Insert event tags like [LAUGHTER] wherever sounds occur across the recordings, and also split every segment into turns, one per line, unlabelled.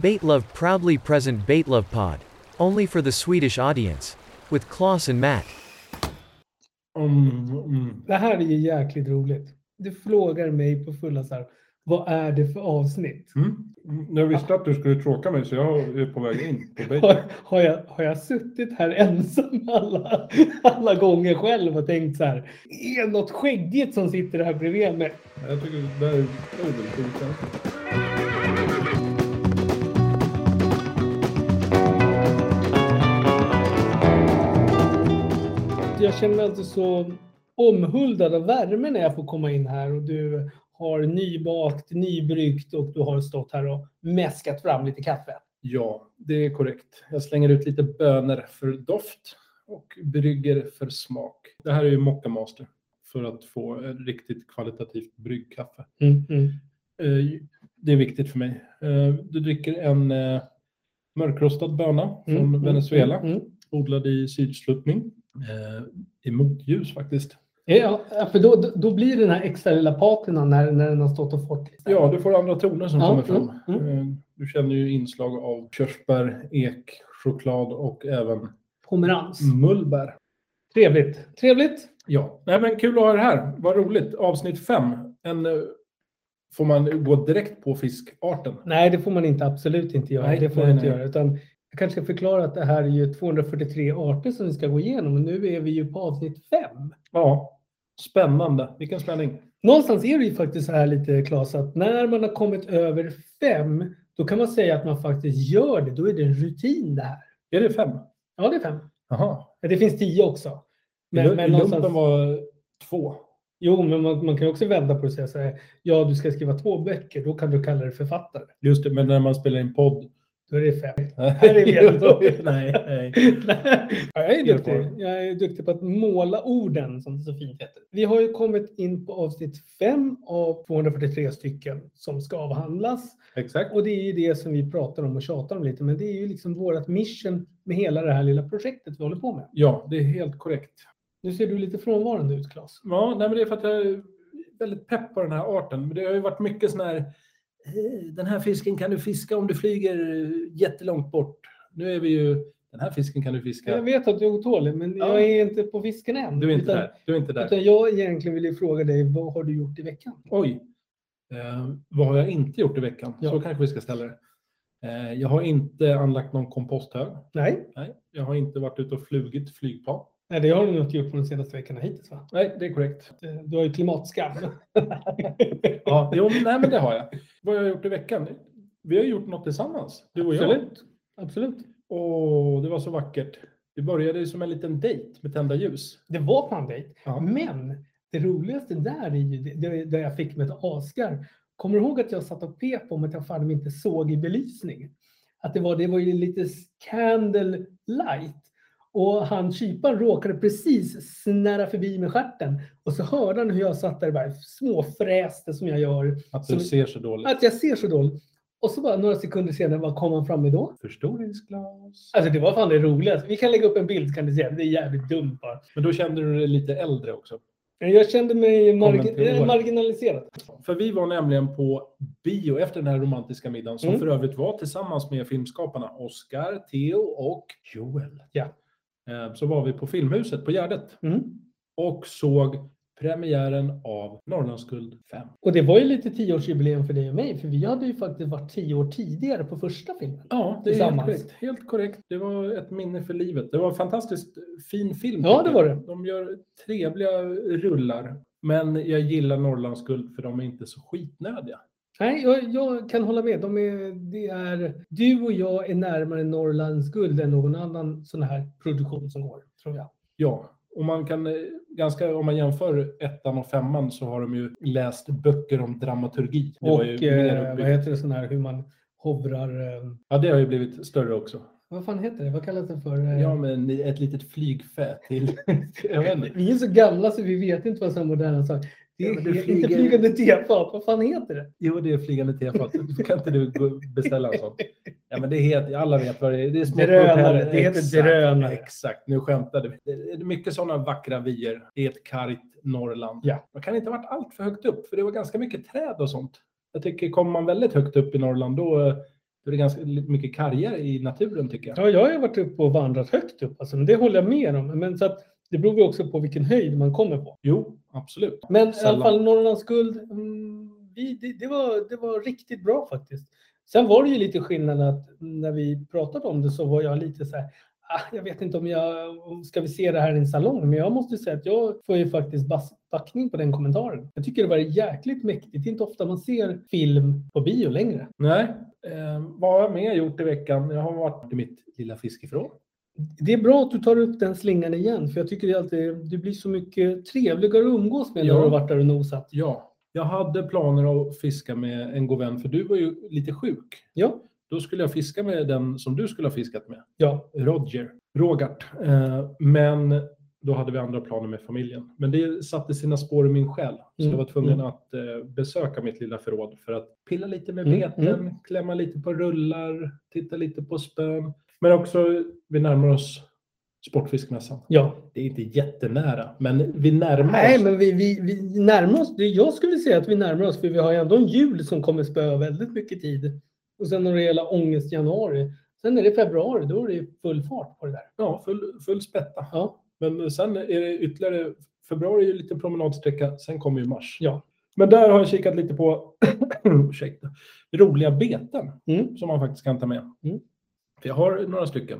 Baitlove proudly present Baitlove Pod. Only for the Swedish audience. With Klaus and Matt.
Mm, mm.
Det här är ju jäkligt roligt. Du frågar mig på fulla så här, vad är det för avsnitt?
Mm. Jag visste att du skulle tråka mig så jag är på väg in på
Har, [LAUGHS]
bänken.
har, jag, har jag suttit här ensam alla, alla gånger själv och tänkt så här, är det något skäggigt som sitter här bredvid mig?
Jag tycker det där är otroligt okänsligt.
Jag känner mig alltså så omhuldad av värme när jag får komma in här och du har nybakt, nybryggt och du har stått här och mäskat fram lite kaffe.
Ja, det är korrekt. Jag slänger ut lite bönor för doft och brygger för smak. Det här är ju Mocca Master för att få ett riktigt kvalitativt bryggkaffe.
Mm,
Eh, Det är viktigt för mig. Eh, Du dricker en eh, mörkrostad böna från
Mm, mm,
Venezuela,
mm, mm.
odlad i sydsluttning. Eh, I motljus faktiskt.
Ja, för då, då blir den här extra lilla patinan när, när den har stått och fått.
Ja, du får andra toner som
Ja,
kommer fram.
mm,
Eh, Du känner ju inslag av körsbär, ek, choklad och även
Pomerans.
Mm. mullbär.
Trevligt. Trevligt.
Ja, Nej, men kul att ha det här. Vad roligt. Avsnitt 5. En, eh, får man gå direkt på fiskarten?
Nej, det får man inte. Absolut inte göra.
Nej,
det får
nej,
man inte
nej.
göra. Utan jag kanske ska förklara att det här är ju 243 arter som vi ska gå igenom och nu är vi ju på avsnitt 5.
Ja, spännande. Vilken spänning.
Någonstans är det ju faktiskt så här lite Klas, att när man har kommit över 5, då kan man säga att man faktiskt gör det. Då är det en rutin det här.
Är det fem?
Ja, det är 5.
Jaha.
Det finns 10 också.
Men, I,
Men,
Lu-
men
i lumpen
någonstans...
var två.
Jo, men man, man kan ju också vända på det och säga så här. Ja, du ska skriva två böcker. Då kan du kalla dig författare.
Just det, men när man spelar in podd.
Då är det 5.
[LAUGHS]
Här är vi då.
nej, nej.
Nej, jag, är duktig.
Erfaren.
jag är duktig på att måla orden, som det så fint heter. Vi har ju kommit in på avsnitt 5 av 243 stycken som ska avhandlas.
Exakt.
Och det är ju det som vi pratar om och tjatar om lite, men det är ju liksom vårt mission med hela det här lilla projektet vi håller på med.
Ja, det är helt korrekt.
Nu ser du lite frånvarande ut, Claes.
Ja, nej, men det är för att jag är väldigt pepp på den här arten. Men det har ju varit mycket sån här, "Eh, den här fisken kan du fiska om du flyger eh, jättelångt bort. Nu är vi ju, den här fisken kan du
Jag
fiska.
vet att du är otålig, men
Ja.
jag är inte på fisken än.
Du är inte
utan,
där, du är inte där.
Utan jag egentligen vill ju fråga dig, vad har du gjort i veckan?
Oj, eh, vad har jag inte gjort i veckan?
Ja.
Så kanske vi ska ställa det. Eh, jag har inte anlagt någon komposthög.
Nej,
Nej, jag har inte varit ute och flugit flygplan.
Nej det har du nog inte gjort på de senaste veckorna hittills, va?
Nej, det är korrekt.
Eh, Du har ju klimatskam.
Ja, jo, nej, men det har jag. Vad har jag gjort i veckan? Vi har gjort något tillsammans, du och jag.
Absolut. [LAUGHS] Absolut.
Åh, det var så vackert. Det började ju som en liten dejt med tända ljus.
Det var på en dejt.
Ja.
Men det roligaste där är ju det, det, det jag fick med ett askar. Kommer du ihåg att jag satt och pep om att jag fan inte såg i belysning? Att det var, det var ju lite candle light. Och han kyparen råkade precis snära förbi med stjärten. Och så hörde han hur jag satt där och bara småfräste som jag gör.
Att
Som-
du ser så dåligt.
Att jag ser så dåligt. Och så bara några sekunder senare, vad kom han fram med då?
Förstoringsglas.
Alltså det var fan det roligaste. Vi kan lägga upp en bild kan du se. Det är jävligt dumt bara.
Men då kände du dig lite äldre också.
Men Jag kände mig
Kommer
margi-
till
eh,
år.
marginaliserad.
För vi var nämligen på bio efter den här romantiska middagen som
Mm.
för övrigt var tillsammans med filmskaparna Oscar, Theo och Joel.
Ja.
Eh, Så var vi på Filmhuset på Gärdet
Mm.
och såg premiären av Norrlandsguld 5.
Och det var ju lite tioårsjubileum för dig och mig, för vi hade ju faktiskt varit tio år tidigare på första filmen.
Ja, det är helt
Tillsammans.
korrekt. helt korrekt. Det var ett minne för livet. Det var en fantastiskt fin film.
Ja,
tycker
det var
jag.
det.
De gör trevliga rullar. Men jag gillar Norrlandsguld för de är inte så skitnödiga.
Nej, jag, jag kan hålla med. De är, det är, du och jag är närmare Norrlands guld än någon annan sån här produktion som går, tror jag.
Ja, och man kan eh, ganska, om man jämför ettan och femman så har de ju läst böcker om dramaturgi. Det var
och
ju
eh,
mer
vad
uppbyggt.
heter det sån här hur man hovrar... Eh,
Ja, det har ju blivit större också.
vad fan heter det? Vad kallas det för? Eh,
Ja, men ett litet flygfä till... [LAUGHS] jag vet inte.
Vi är så gamla så vi vet inte vad som är moderna saker. Det är
Ja, men det
helt- inte
flyger-
flygande tefat. Vad fan heter det?
Jo, det är flygande tefat. Kan inte du gå- beställa en sån? Ja, men det heter, alla vet vad det är. Det är små
Drönare.
propeller.
Det heter
Exakt,
drönare.
Exakt, nu skämtade vi. Det är mycket sådana vackra vyer i ett kargt Norrland.
Ja.
Man kan inte ha varit allt för högt upp, för det var ganska mycket träd och sånt. Jag tycker, kommer man väldigt högt upp i Norrland, då eh, Då är det ganska mycket kargare i naturen tycker jag.
Ja, jag har ju varit uppe och vandrat högt upp, alltså, men det håller jag med om. Men så att, det beror ju också på vilken höjd man kommer på.
Jo, absolut.
Men i
Sällan.
alla fall Norrlands guld, mm, vi, det, det, var, det var riktigt bra faktiskt. Sen var det ju lite skillnad att när vi pratade om det så var jag lite så här, ah, jag vet inte om jag, ska vi se det här i en salong? Men jag måste ju säga att jag får ju faktiskt bas- backning på den kommentaren. Jag tycker det var jäkligt mäktigt. Det är inte ofta man ser film på bio längre.
Nej, eh, vad har jag mer gjort i veckan? Jag har varit i mitt lilla fiskeförråd.
Det är bra att du tar upp den slingan igen, för jag tycker det är alltid, du blir så mycket trevligare att umgås med när
Ja.
du har varit där och nosat.
Ja, jag hade planer att fiska med en god vän, för du var ju lite sjuk.
Ja,
Då skulle jag fiska med den som du skulle ha fiskat med,
ja,
Roger. Rogart. Eh, men då hade vi andra planer med familjen. Men det satte sina spår i min själ. Så
Mm,
jag var tvungen
mm.
att eh, besöka mitt lilla förråd för att pilla lite med
Mm,
beten, klämma lite på rullar, titta lite på spön. Men också, vi närmar oss Sportfiskmässan.
ja.
Det är inte jättenära, men vi närmar
Nej,
oss.
men vi, vi, vi närmar oss. det- Jag skulle säga att vi närmar oss, för vi har ju ändå en jul som kommer spöa väldigt mycket tid. Och sen har det hela ångest januari. Sen är det februari, då är det ju full fart på det där.
Ja, full, full spätta.
Ja,
Men sen är det ytterligare, februari är ju lite promenadsträcka, sen kommer ju mars.
Ja.
Men där har jag kikat lite på [CLEARS THROAT] ursäkta, roliga beten
Mm.
som man faktiskt kan ta med.
Mm.
För jag har några stycken.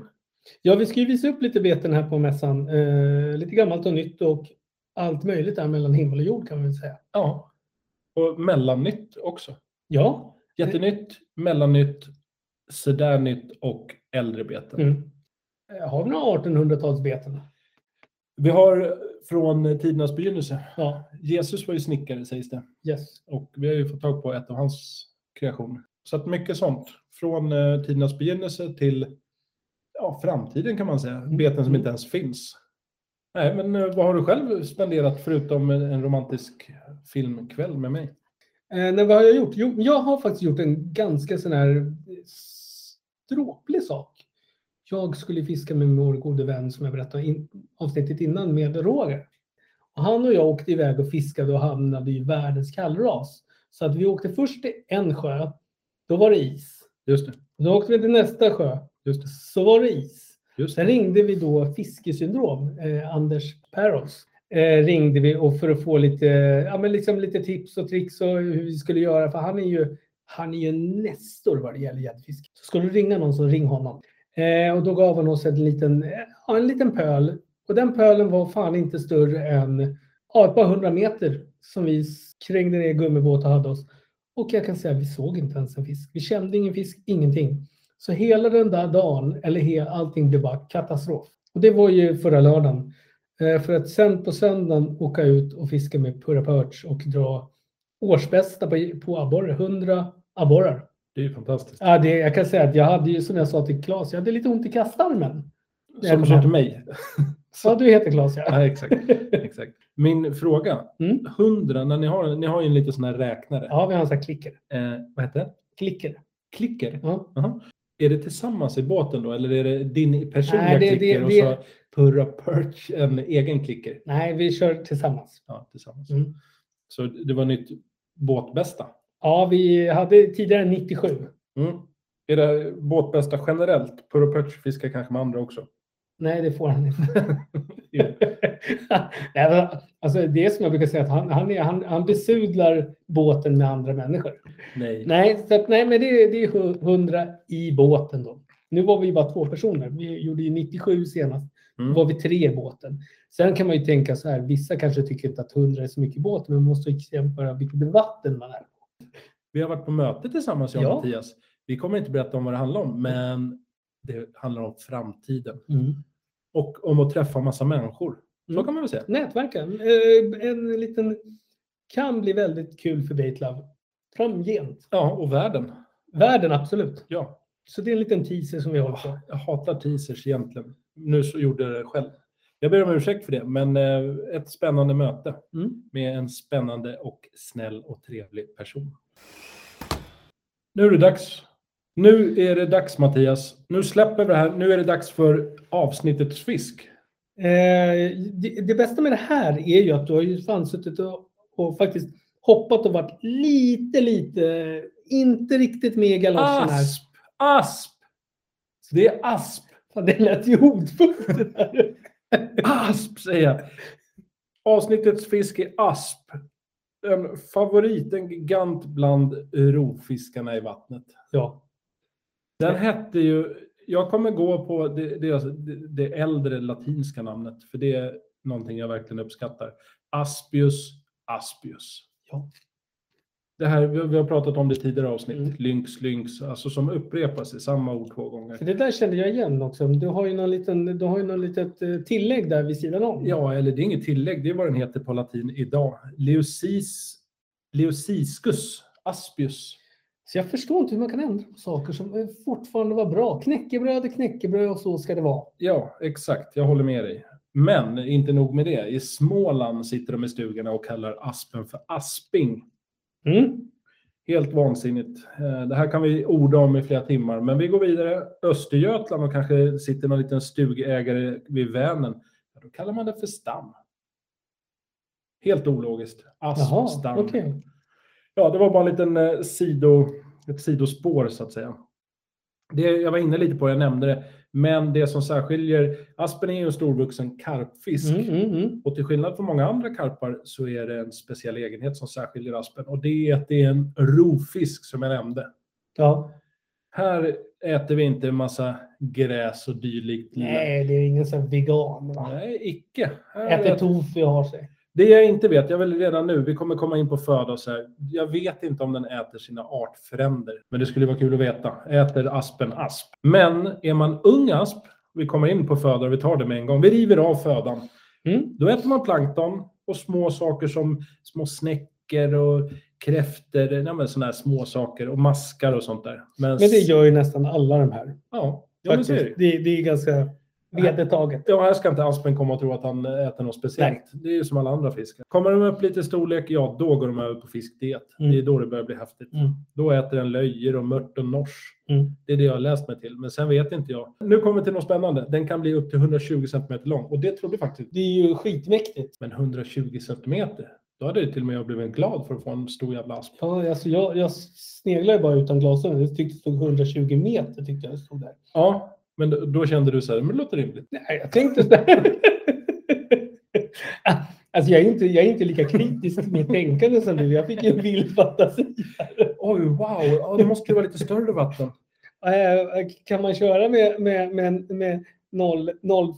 ja vi ska ju visa upp lite beten här på mässan. Eh, lite gammalt och nytt och allt möjligt där mellan himmel och jord kan vi väl säga.
Ja. Och mellannytt också.
Ja,
Jättenytt, mellannytt, sådär nytt och äldre beten.
mm. Eh, har vi några 1800-talsbeten?
Vi har från tidernas begynnelse.
Ja,
Jesus var ju snickare sägs det.
yes.
Och vi har ju fått tag på ett av hans kreationer. Så att mycket sånt. Från eh, tidernas begynnelse till ja, framtiden kan man säga.
Mm.
Beten som inte ens finns. Nej, men eh, vad har du själv spenderat förutom en en romantisk filmkväll med mig?
Eh, nej, vad har jag gjort? Jo, jag har faktiskt gjort en ganska sån här stråplig sak. Jag skulle fiska med min gode vän som jag berättade in, avsnittet innan med Roger. Och han och jag åkte iväg och fiskade och hamnade i världens kallras. Så att vi åkte först till en sjö, då var det is.
Just det.
Då åkte vi till nästa sjö,
Just det.
så var det is.
Just
Sen
det.
ringde vi då Fiskesyndrom, eh, Anders Perros. Eh, ringde vi och för att få lite, ja, men liksom lite tips och tricks och hur vi skulle göra. För han är ju, han är ju en nestor vad det gäller gäddfiske. Så skulle du ringa någon så ring honom. Eh, och då gav han oss en liten, eh, ja, en liten pöl. Och den pölen var fan inte större än ja, ett par hundra meter som vi krängde ner i gummibåt och hade oss. Och jag kan säga att vi såg inte ens en fisk. Vi kände ingen fisk, ingenting. Så hela den där dagen, eller he, allting, blev bara katastrof. Och det var ju förra lördagen. Eh, För att sen på söndagen åka ut och fiska med Purra Perch och dra årsbästa på, på abborre, 100 abborrar.
Det är ju fantastiskt.
Ja, det, jag kan säga att jag hade ju som jag sa till Claes, jag hade lite ont i kastarmen. jag
Som
kom
du sa
hem.
till mig.
Ja, du heter Claes ja.
Ja, exakt.
[LAUGHS]
exakt. Min fråga.
Mm.
100, när ni har, ni har ju en liten sån här räknare.
Ja, vi har en sån här klicker.
Eh, vad heter det?
Klicker.
Klicker.
Ja.
Är det tillsammans i båten då eller är det din personliga
Nej, det- det-
klicker och
det-
så Purra Perch en egen klicker?
Nej, vi kör tillsammans.
Ja, tillsammans.
Mm.
Så det var nytt båtbästa.
Ja, vi hade tidigare 97.
Mm. Är det båtbästa generellt? Purra Perch fiskar kanske med andra också.
Nej, det får han inte. [LAUGHS]
Jo.
Nej, men, alltså, det är som jag brukar säga, att han, han, är, han, han besudlar båten med andra människor.
Nej.
Nej, så att, nej men det, är- det är hu- 100 i båten då. Nu var vi bara två personer. Vi gjorde ju 97 senast. Då
Mm.
var vi tre i båten. Sen kan man ju tänka så här, vissa kanske tycker inte att 100 är så mycket i båten, men man måste ju jämföra vilket vatten man är.
Vi har varit på möte tillsammans jag och
Ja.
Mattias. Vi kommer inte berätta om vad det handlar om, men det handlar om framtiden och om att träffa massa människor. Så
Mm.
kan man väl säga.
Nätverka. Eh, En liten, kan bli väldigt kul för Baitlove framgent.
Ja, och världen.
Världen, absolut.
Ja.
Så det är en liten teaser som vi håller på.
Ja, Jag hatar teasers egentligen. Nu så gjorde jag det själv. Jag ber om ursäkt för det, men eh, ett spännande möte
Mm.
med en spännande och snäll och trevlig person. Nu är det dags. Nu är det dags Mattias. Nu släpper vi det här. Nu är det dags för avsnittets fisk.
Eh, det, det bästa med det här är ju att du har ju fan suttit och, och faktiskt
Ah,
hoppat och varit lite, lite, inte riktigt med i galoschen här.
Asp! Asp! Så det är asp.
Fan, det lät ju hotfullt [LAUGHS] det där.
Asp säger jag. Avsnittets fisk är asp. En favorit, en gigant bland rovfiskarna i vattnet.
Ja.
Den hette ju, jag kommer gå på det, det, det äldre latinska namnet, för det är någonting jag verkligen uppskattar. Aspius aspius.
Ja.
Det här, vi vi har pratat om det i tidigare avsnitt,
Mm.
lynx lynx, alltså som upprepas i samma ord två gånger.
För det där kände jag igen också. Du har ju någon liten, du har ju någon litet eh, tillägg där vid sidan om.
Ja, eller det är inget tillägg, det är vad den heter på latin idag. Leucis, leuciscus aspius.
Så jag förstår inte hur man kan ändra på saker som eh, fortfarande var bra. Knäckebröd är knäckebröd och så ska det vara.
Ja, exakt. Jag håller med dig. Men inte nog med det. I Småland sitter de i stugorna och kallar aspen för asping.
Mm.
Helt vansinnigt. Eh, Det här kan vi orda om i flera timmar, men vi går vidare. Östergötland och kanske sitter någon liten stugägare vid Vänern. Ja, Då kallar man det för stam. Helt ologiskt. Asp,
Jaha,
stam.
okej.
Ja, det var bara en liten eh, sido, ett sidospår så att säga. Det, jag var inne lite på det, jag nämnde det. Men det som särskiljer, aspen är ju en storvuxen karpfisk.
Mm, mm, mm.
Och till skillnad från många andra karpar så är det en speciell egenhet som särskiljer aspen och det är att det är en rovfisk som jag nämnde.
Ja.
Här äter vi inte en massa gräs och dylikt.
Nej, det är ingen sån här vegan. Va?
Nej, icke. Här
Äter
äter
tofu och har sig.
det jag inte vet, jag vill redan nu, vi kommer komma in på föda och så här. Jag vet inte om den äter sina artfränder, men det skulle vara kul att veta. Äter aspen asp? Men är man ung asp, vi kommer in på föda och vi tar det med en gång. Vi river av födan.
Mm.
Då äter man plankton och små saker som små snäckor och kräftor, nej men sådana här små saker och maskar och sånt där.
Men det gör ju nästan alla de här.
Ja, ja men så är det. ju.
faktiskt. Det, det är ganska vedertaget.
Ja, här ska inte aspen komma och tro att han äter något speciellt.
Nej.
Det är ju som alla andra fiskar. Kommer de upp lite i storlek, ja då går de över på fiskdiet.
Mm.
Det är då det börjar bli häftigt.
Mm.
Då äter den löjer och mört och nors.
Mm.
Det är det jag har läst mig till, men sen vet inte jag. Nu kommer vi till något spännande. Den kan bli upp till 120 cm lång och det trodde faktiskt
Det är ju skitmäktigt.
Men 120 centimeter, då hade det till och med jag blivit glad för att få en stor jävla asp.
Ja, alltså jag, jag sneglade ju bara utan glasögon. Jag tyckte det stod 120 meter. Tyckte jag det stod där.
Ja, men då- då kände du så här, men det låter rimligt.
Nej, jag tänkte så här. [LAUGHS] Alltså jag är, inte, jag är inte lika kritisk till mitt tänkande som du. Jag fick ju en vild fantasi.
Oj, wow, ja, det måste ju vara lite större vatten.
Eh, Kan man köra med, med, med, med 0,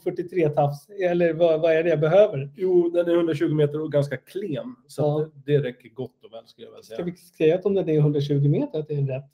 043 tafs? Eller vad, vad är det jag behöver?
Jo, den är 120 meter och ganska klen, så
Ja.
att det räcker gott och väl skulle jag vilja
Ska
säga.
vi säga att om den är 120 meter att det är en rätt,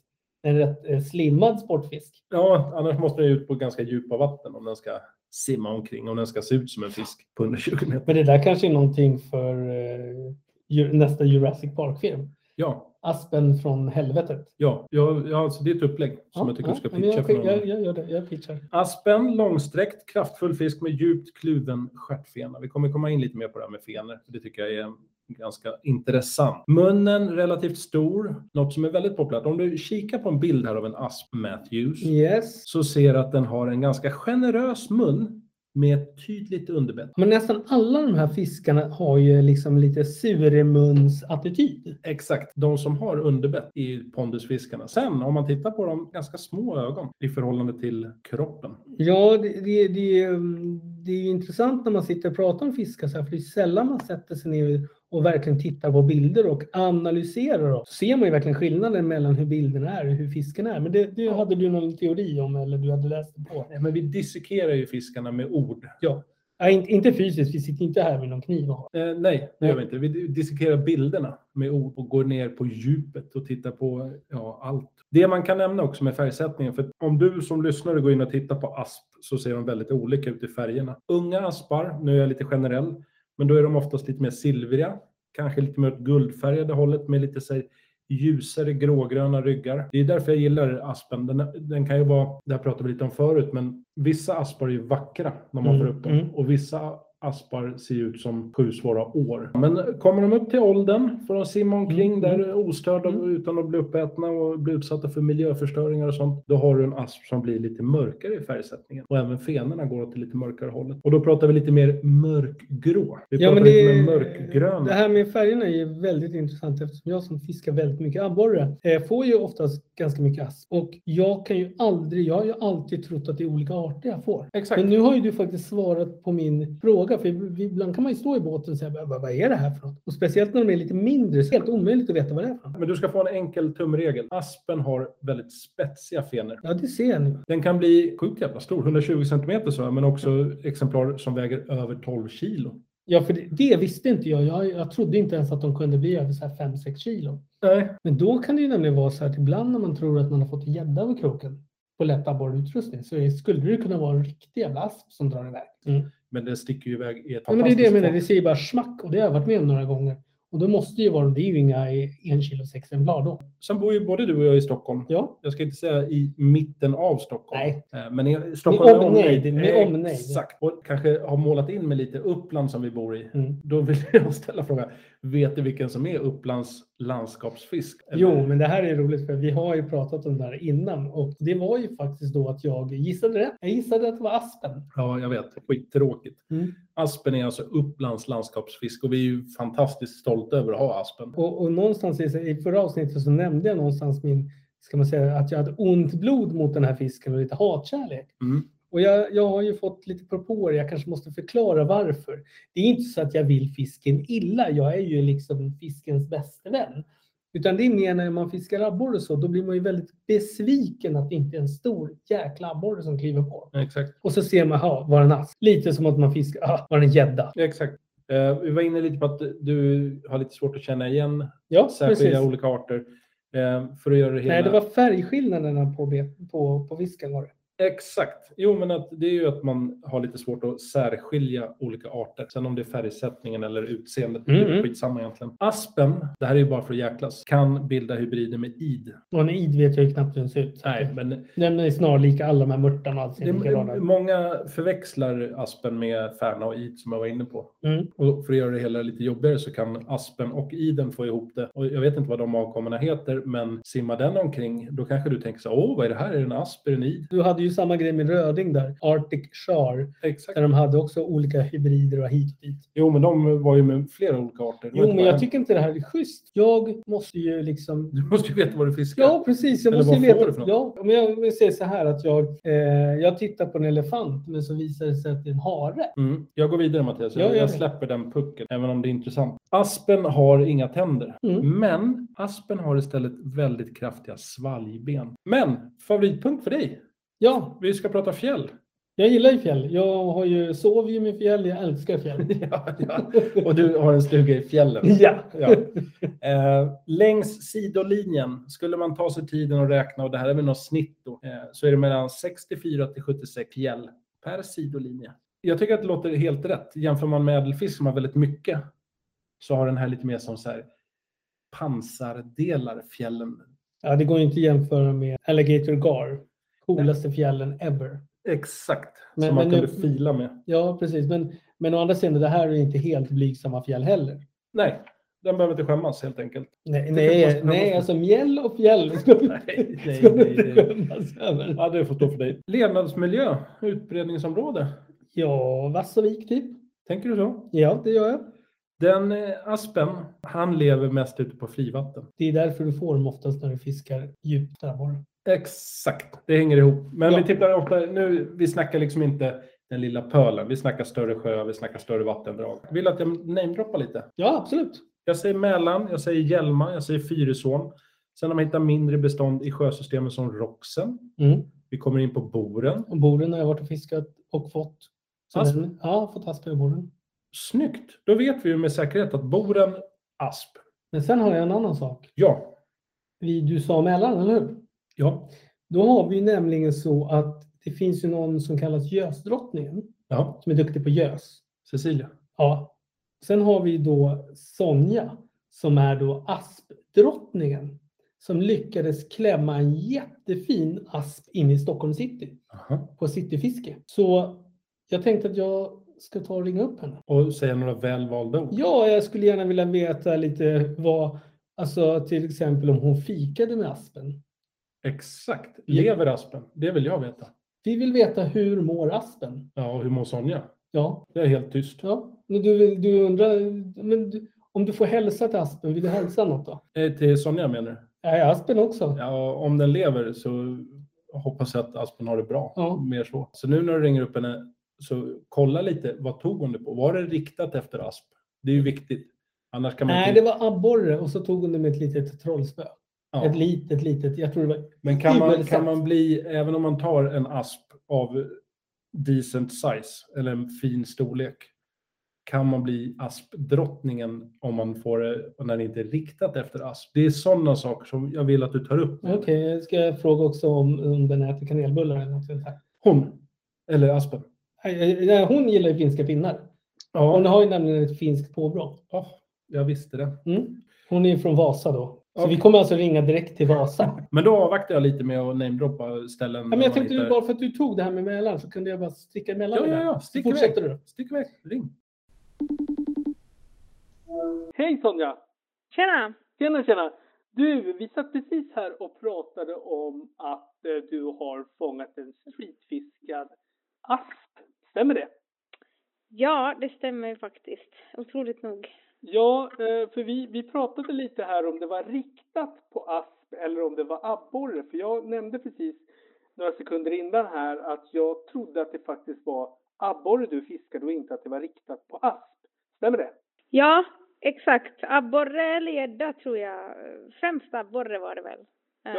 en rätt eh, slimmad sportfisk?
Ja, annars måste den ju ut på ganska djupa vatten om den ska simma omkring, om den ska se ut som en fisk på 120 meter.
Men det där kanske är någonting för eh, ju- nästa Jurassic Park-film.
Ja,
Aspen från helvetet.
ja, ja, ja alltså det är ett upplägg som jag tycker du ska
men
pitcha för
jag,
någon.
jag, jag gör det. Jag pitchar.
Aspen, långsträckt, kraftfull fisk med djupt kluven stjärtfena. Vi kommer komma in lite mer på det här med fenor. för Det tycker jag är ganska intressant. Munnen relativt stor, något som är väldigt populärt. Om du kikar på en bild här av en asp, Matthews,
Yes.
så ser du att den har en ganska generös mun med ett tydligt underbett.
Men nästan alla de här fiskarna har ju liksom lite suremundsattityd.
Exakt. De som har underbett är ju pondusfiskarna. Sen om man tittar på dem, ganska små ögon i förhållande till kroppen.
Ja, det, det, det, mm, det är ju intressant när man sitter och pratar om fiskar så här, för det är sällan man sätter sig ner och verkligen tittar på bilder och analyserar dem. Så ser man ju verkligen skillnaden mellan hur bilderna är och hur fisken är. Men det, det hade du någon teori om eller du hade läst det på?
Nej, Men vi dissekerar ju fiskarna med ord.
Ja. Nej, inte, inte fysiskt, vi sitter inte här med någon kniv och har.
Eh, nej, det gör vi inte. Vi dissekerar bilderna med ord och går ner på djupet och tittar på ja, allt. Det man kan nämna också med färgsättningen, för att om du som lyssnare går in och tittar på asp så ser de väldigt olika ut i färgerna. Unga aspar, nu är jag lite generell, men då är de oftast lite mer silvriga, kanske lite mer åt guldfärgade hållet med lite så här, ljusare grågröna ryggar. Det är därför jag gillar aspen. Den, den kan ju vara, det här pratade vi lite om förut, men vissa aspar är ju vackra när man
Mm,
får upp dem
mm.
och vissa aspar ser ut som sju svåra år. Men kommer de upp till åldern får de simma omkring
Mm.
där ostörda och utan att bli uppätna och bli utsatta för miljöförstöringar och sånt. Då har du en asp som blir lite mörkare i färgsättningen och även fenorna går åt det lite mörkare hållet. Och då pratar vi lite mer mörkgrå. Vi pratar lite mer mörkgrön.
det här med färgerna är väldigt intressant eftersom jag som fiskar väldigt mycket abborre eh, får ju oftast ganska mycket asp. Och jag kan ju aldrig, jag har ju alltid trott att det är olika arter jag får.
Exakt.
Men nu har ju du faktiskt svarat på min fråga. För vi- ibland kan man ju stå i båten och säga "Vad- vad är det här för något? Och speciellt när de är lite mindre så är det helt omöjligt att veta vad det är för något.
Men du ska få en enkel tumregel. Aspen har väldigt spetsiga fenor.
Ja, det ser jag nu.
Den kan bli sjukt jävla stor, 120 centimeter så, men också exemplar som väger över 12 kilo.
Ja, för det, det visste inte jag. jag. Jag trodde inte ens att de kunde bli över så här 5-6 kilo.
Nej,
Men då kan det ju nämligen vara så att ibland när man tror att man har fått gädda över kroken på lätt abborrutrustning så är- skulle det kunna vara en riktig jävla asp som drar iväg.
men den sticker ju iväg i ett
Ja, men det är det jag
fantastiskt
menar, det
fart.
säger bara smack och det har jag varit med om några gånger. Och då måste ju vara, det är ju inga en kilo sex blad då.
Sen bor ju både du och jag i Stockholm.
Ja,
Jag ska inte säga i mitten av Stockholm.
Nej.
Eh, Men i Stockholm
Med omnejd, med
Eh,
omnejd.
Exakt. Och kanske har målat in med lite Uppland som vi bor i.
Mm.
Då vill [LAUGHS] jag ställa frågan, vet du vilken som är Upplands landskapsfisk?
jo, men det här är roligt för vi har ju pratat om det här innan och det var ju faktiskt då att jag gissade rätt. Jag gissade att det var aspen.
Ja, jag vet. Skittråkigt.
Mm.
Aspen är alltså Upplands landskapsfisk och vi är ju fantastiskt stolta över att ha aspen.
Och, och någonstans i, i förra avsnittet så nämnde jag någonstans min, ska man säga, att jag hade ont blod mot den här fisken och lite hatkärlek.
Mm.
Och jag, jag har ju fått lite propåer, jag kanske måste förklara varför. Det är inte så att jag vill fisken illa, jag är ju liksom fiskens bästa vän. Utan det är mer när man fiskar abborre och så, då blir man ju väldigt besviken att det inte är en stor jäkla abborre som kliver på.
Exakt.
Och så ser man, ha, var det en ask? Lite som att man fiskar, ah, var det en gädda?
Exakt. Eh, vi var inne lite på att du har lite svårt att känna igen
Ja,
särskilda
precis.
olika arter. Eh, för att göra det hela...
Nej, det var färgskillnaderna på, bet- på, på fisken var det.
Exakt. Jo, men att det är ju att man har lite svårt att särskilja olika arter. Sen om det är färgsättningen eller utseendet, det är
Mm.
skitsamma egentligen. Aspen, det här är ju bara för att jäklas, kan bilda hybrider med id.
Och en id vet jag ju knappt hur den ser ut. Så
Nej,
att
men
Den är snarlik alla de här mörtarna. Alltså,
det,
likadana.
många förväxlar aspen med färna och id som jag var inne på.
Mm.
Och för att göra det hela lite jobbigare så kan aspen och iden få ihop det. Och jag vet inte vad de avkommorna heter, men simmar den omkring, då kanske du tänker så här, åh, vad är det här? Är det en asp? Är det en id?
Du hade ju samma grej med röding där, Arctic Char,
Exakt.
där de hade också olika hybrider och hit och dit.
Jo, men de var ju med flera olika arter. Det var
Jo,
inte
men
bara
jag
en.
tycker inte det här är schysst. Jag måste ju liksom
Du måste ju veta vad du fiskar.
Ja, precis. Jag
Eller
måste ju
vad får
veta.
du för
Ja, men jag vill säga så här att jag, eh, jag tittar på en elefant men så visar det sig att det är en hare.
Mm. Jag går vidare Mattias.
Ja,
Jag,
gör
jag
det.
släpper den pucken, även om det är intressant. Aspen har inga tänder,
Mm.
men aspen har istället väldigt kraftiga svalgben. Men favoritpunkt för dig?
Ja,
Vi ska prata fjäll.
jag gillar ju fjäll. Jag har ju, sover ju med fjäll, jag älskar fjäll.
[LAUGHS] ja, ja. Och du har en stuga i [LAUGHS] fjällen.
ja.
[LAUGHS] Ja. Eh, längs sidolinjen, skulle man ta sig tiden att räkna, och det här är väl något snitt då, eh, så är det mellan 64 till 76 fjäll per sidolinje. Jag tycker att det låter helt rätt. Jämför man med ädelfisk som har väldigt mycket så har den här lite mer som så här pansardelar fjällen.
ja, det går ju inte att jämföra med Alligator Gar. Coolaste fjällen ever.
Exakt,
Men-
som man
men
kunde
nu-
fila med.
Ja, precis. Men, men å andra sidan, det här är inte helt blygsamma fjäll heller.
Nej, den behöver inte skämmas helt enkelt.
Nej,
man
nej,
ska- man
nej
ska-
alltså mjäll och [LAUGHS] fjäll ska vi-
Nej, nej,
ska vi
nej,
inte
nej.
skämmas över.
Ja, det får stå för dig. Levnadsmiljö, utbredningsområde.
Ja, Vassavik typ.
Tänker du så?
Ja, det gör jag.
Den eh, aspen, han lever mest ute på frivatten.
Det är därför du får dem oftast när du fiskar djupt där borta.
Exakt, det hänger ihop. Men
Ja.
vi tittar ofta, nu, vi snackar liksom inte den lilla pölen. Vi snackar större sjöar, vi snackar större vattendrag. Vill du att jag namedroppar lite?
Ja, absolut.
Jag säger Mälaren, jag säger Hjälma, jag säger Fyrisån. Sen har man hittat mindre bestånd i sjösystemen som Roxen.
Mm.
Vi kommer in på Boren.
Och Boren har jag varit och fiskat och fått. Så
Asp.
den- Ja, fått asp i Boren.
Snyggt! Då vet vi ju med säkerhet att Boren, asp.
Men sen har jag en annan sak.
Ja.
Vi, du sa Mälaren, eller hur?
Ja.
Då har vi ju nämligen så att det finns ju någon som kallas gösdrottningen
Ja.
som är duktig på gös.
Cecilia.
Ja. Sen har vi då Sonja som är då aspdrottningen som lyckades klämma en jättefin asp in i Stockholms city.
Aha.
på cityfiske. Så jag tänkte att jag ska ta och ringa upp henne.
Och säga några välvalda ord.
Ja, jag skulle gärna vilja veta lite vad, alltså till exempel om hon fikade med Aspen.
Exakt.
Mm.
Lever Aspen? Det vill jag veta.
Vi vill veta hur mår Aspen?
Ja, och hur mår Sonja?
Ja,
Det är helt tyst.
ja. Men du, vill- du undrar, men du, om du får hälsa till Aspen, vill du hälsa något då?
Eh, Till Sonja menar du?
Är Aspen också?
Ja, om den lever så hoppas jag att Aspen har det bra.
Ja.
Mer så. Så nu när du ringer upp henne, så kolla lite. Vad tog hon det på? Var det riktat efter Asp? Det är ju viktigt. Annars kan man
Nej, det var abborre och så tog hon det med ett litet trollspö.
Ja.
Ett litet, litet. Jag tror det var...
Men kan man,
Ibelsaft.
kan man bli, även om man tar en asp av decent size eller en fin storlek, kan man bli aspdrottningen om man får det och när det inte är riktat efter asp? Det är sådana saker som jag vill att du tar upp.
Okej, jag ska jag fråga också om, om den äter kanelbullar eller något sånt här.
Hon, eller aspen.
Nej, nej, nej, Hon gillar ju finska pinnar. Hon har ju nämligen ett finskt påbrå.
Ja, jag visste det.
Mm. Hon är ju från Vasa då. Så
Ja.
vi kommer alltså ringa direkt till Vasa.
Men då avvaktar jag lite med att namedroppa ställen.
Ja, men
man
jag tänkte
hittar-
bara för att du tog det här med Mälaren så kunde jag bara sticka emellan.
Ja,
det
ja,
där.
ja.
Så
Stick iväg.
fortsätter du.
Stick iväg. Ring.
Hej Sonja!
Tjena!
Tjena, tjena! Du, vi satt precis här och pratade om att eh, du har fångat en streetfiskad asp. Stämmer det?
Ja, det stämmer ju faktiskt. Otroligt nog.
Ja, eh, för vi, vi pratade lite här om det var riktat på asp eller om det var abborre. För jag nämnde precis några sekunder innan här att jag trodde att det faktiskt var abborre du fiskade och inte att det var riktat på asp. Stämmer det?
Ja, exakt. Abborre eller gädda tror jag. Främst abborre var det väl.
Ja,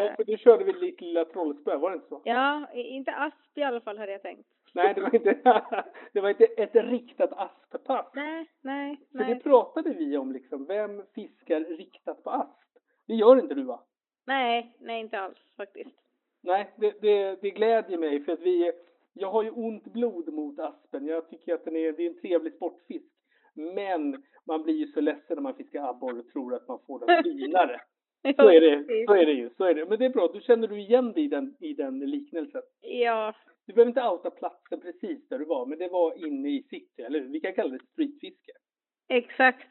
Eh,
för du körde väl ditt lilla trollspö, var det inte så?
ja, i- inte asp i alla fall hade jag tänkt.
Nej, det var inte, [LAUGHS] det var inte ett riktat asppass.
Nej, nej,
För det
nej.
pratade vi om liksom, vem fiskar riktat på asp? Det gör inte du va?
Nej, nej inte alls faktiskt.
Nej, det, det, det glädjer mig för att vi, jag har ju ont blod mot aspen. Jag tycker att den är, det är en trevlig sportfisk. Men man blir ju så ledsen när man fiskar abborre och tror att man får den finare. [LAUGHS] Så är
[LAUGHS]
det, så är det ju, så är det. Men det är bra, då känner du igen dig i den, i den liknelsen.
Ja,
Du behöver inte outa platsen precis där du var, men det var inne i city, eller hur? Vi kan kalla det streetfiske.
exakt.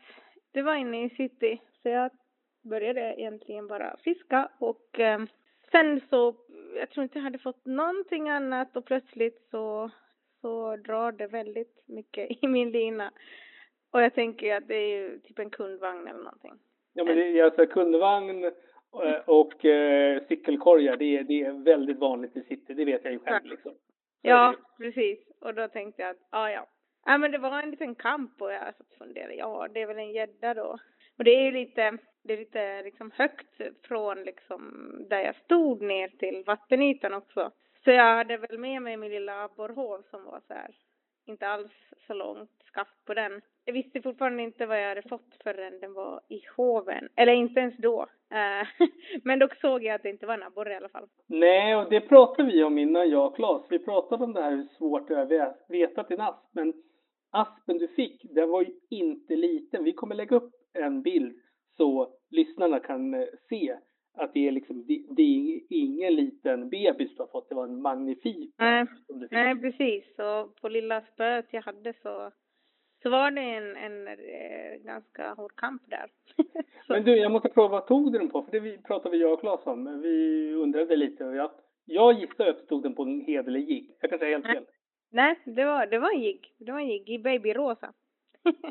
Det var inne i city. Så jag började egentligen bara fiska och eh, sen så, jag tror inte jag hade fått någonting annat och plötsligt så, så drar det väldigt mycket i min lina. Och jag tänker ju att det är ju typ en kundvagn eller någonting.
Ja, men det är alltså kundvagn eh, och eh, cykelkorgar, det är, det är väldigt vanligt i city, det vet jag ju själv liksom. Så är
Ja,
det ju.
precis. Och då tänkte jag att, ah, ja, ja. Ja, men det var en liten kamp och jag satt och funderade, ja, det är väl en gädda då. Och det är ju lite, det är lite liksom högt från liksom där jag stod ner till vattenytan också. Så jag hade väl med mig min lilla abborrhov som var så här, inte alls så långt skaft på den. Jag visste fortfarande inte vad jag hade fått förrän den var i hoven. Eller inte ens då. Eh, [LAUGHS] Men dock såg jag att det inte var en abborre i alla fall.
Nej, och det pratade vi om innan jag och Claes. Vi pratade om det här hur svårt det är att vä- veta till en asp. Men aspen du fick, den var ju inte liten. Vi kommer lägga upp en bild så lyssnarna kan eh, se att det är liksom, det, det är ingen liten bebis du har fått. Det var en magnifik
Nej,
som du fick.
Nej, precis. Och på lilla spöet jag hade så, så var det en, en eh, ganska hård kamp där. [LAUGHS] så,
Men du, jag måste fråga, vad tog du den på? För det vi- pratade jag och Claes om. Vi undrade lite. och Jag, jag gissar att du tog den på en hederlig jigg. Jag kan säga helt fel.
Nej, det var, det var en jigg. Det var en jigg i babyrosa.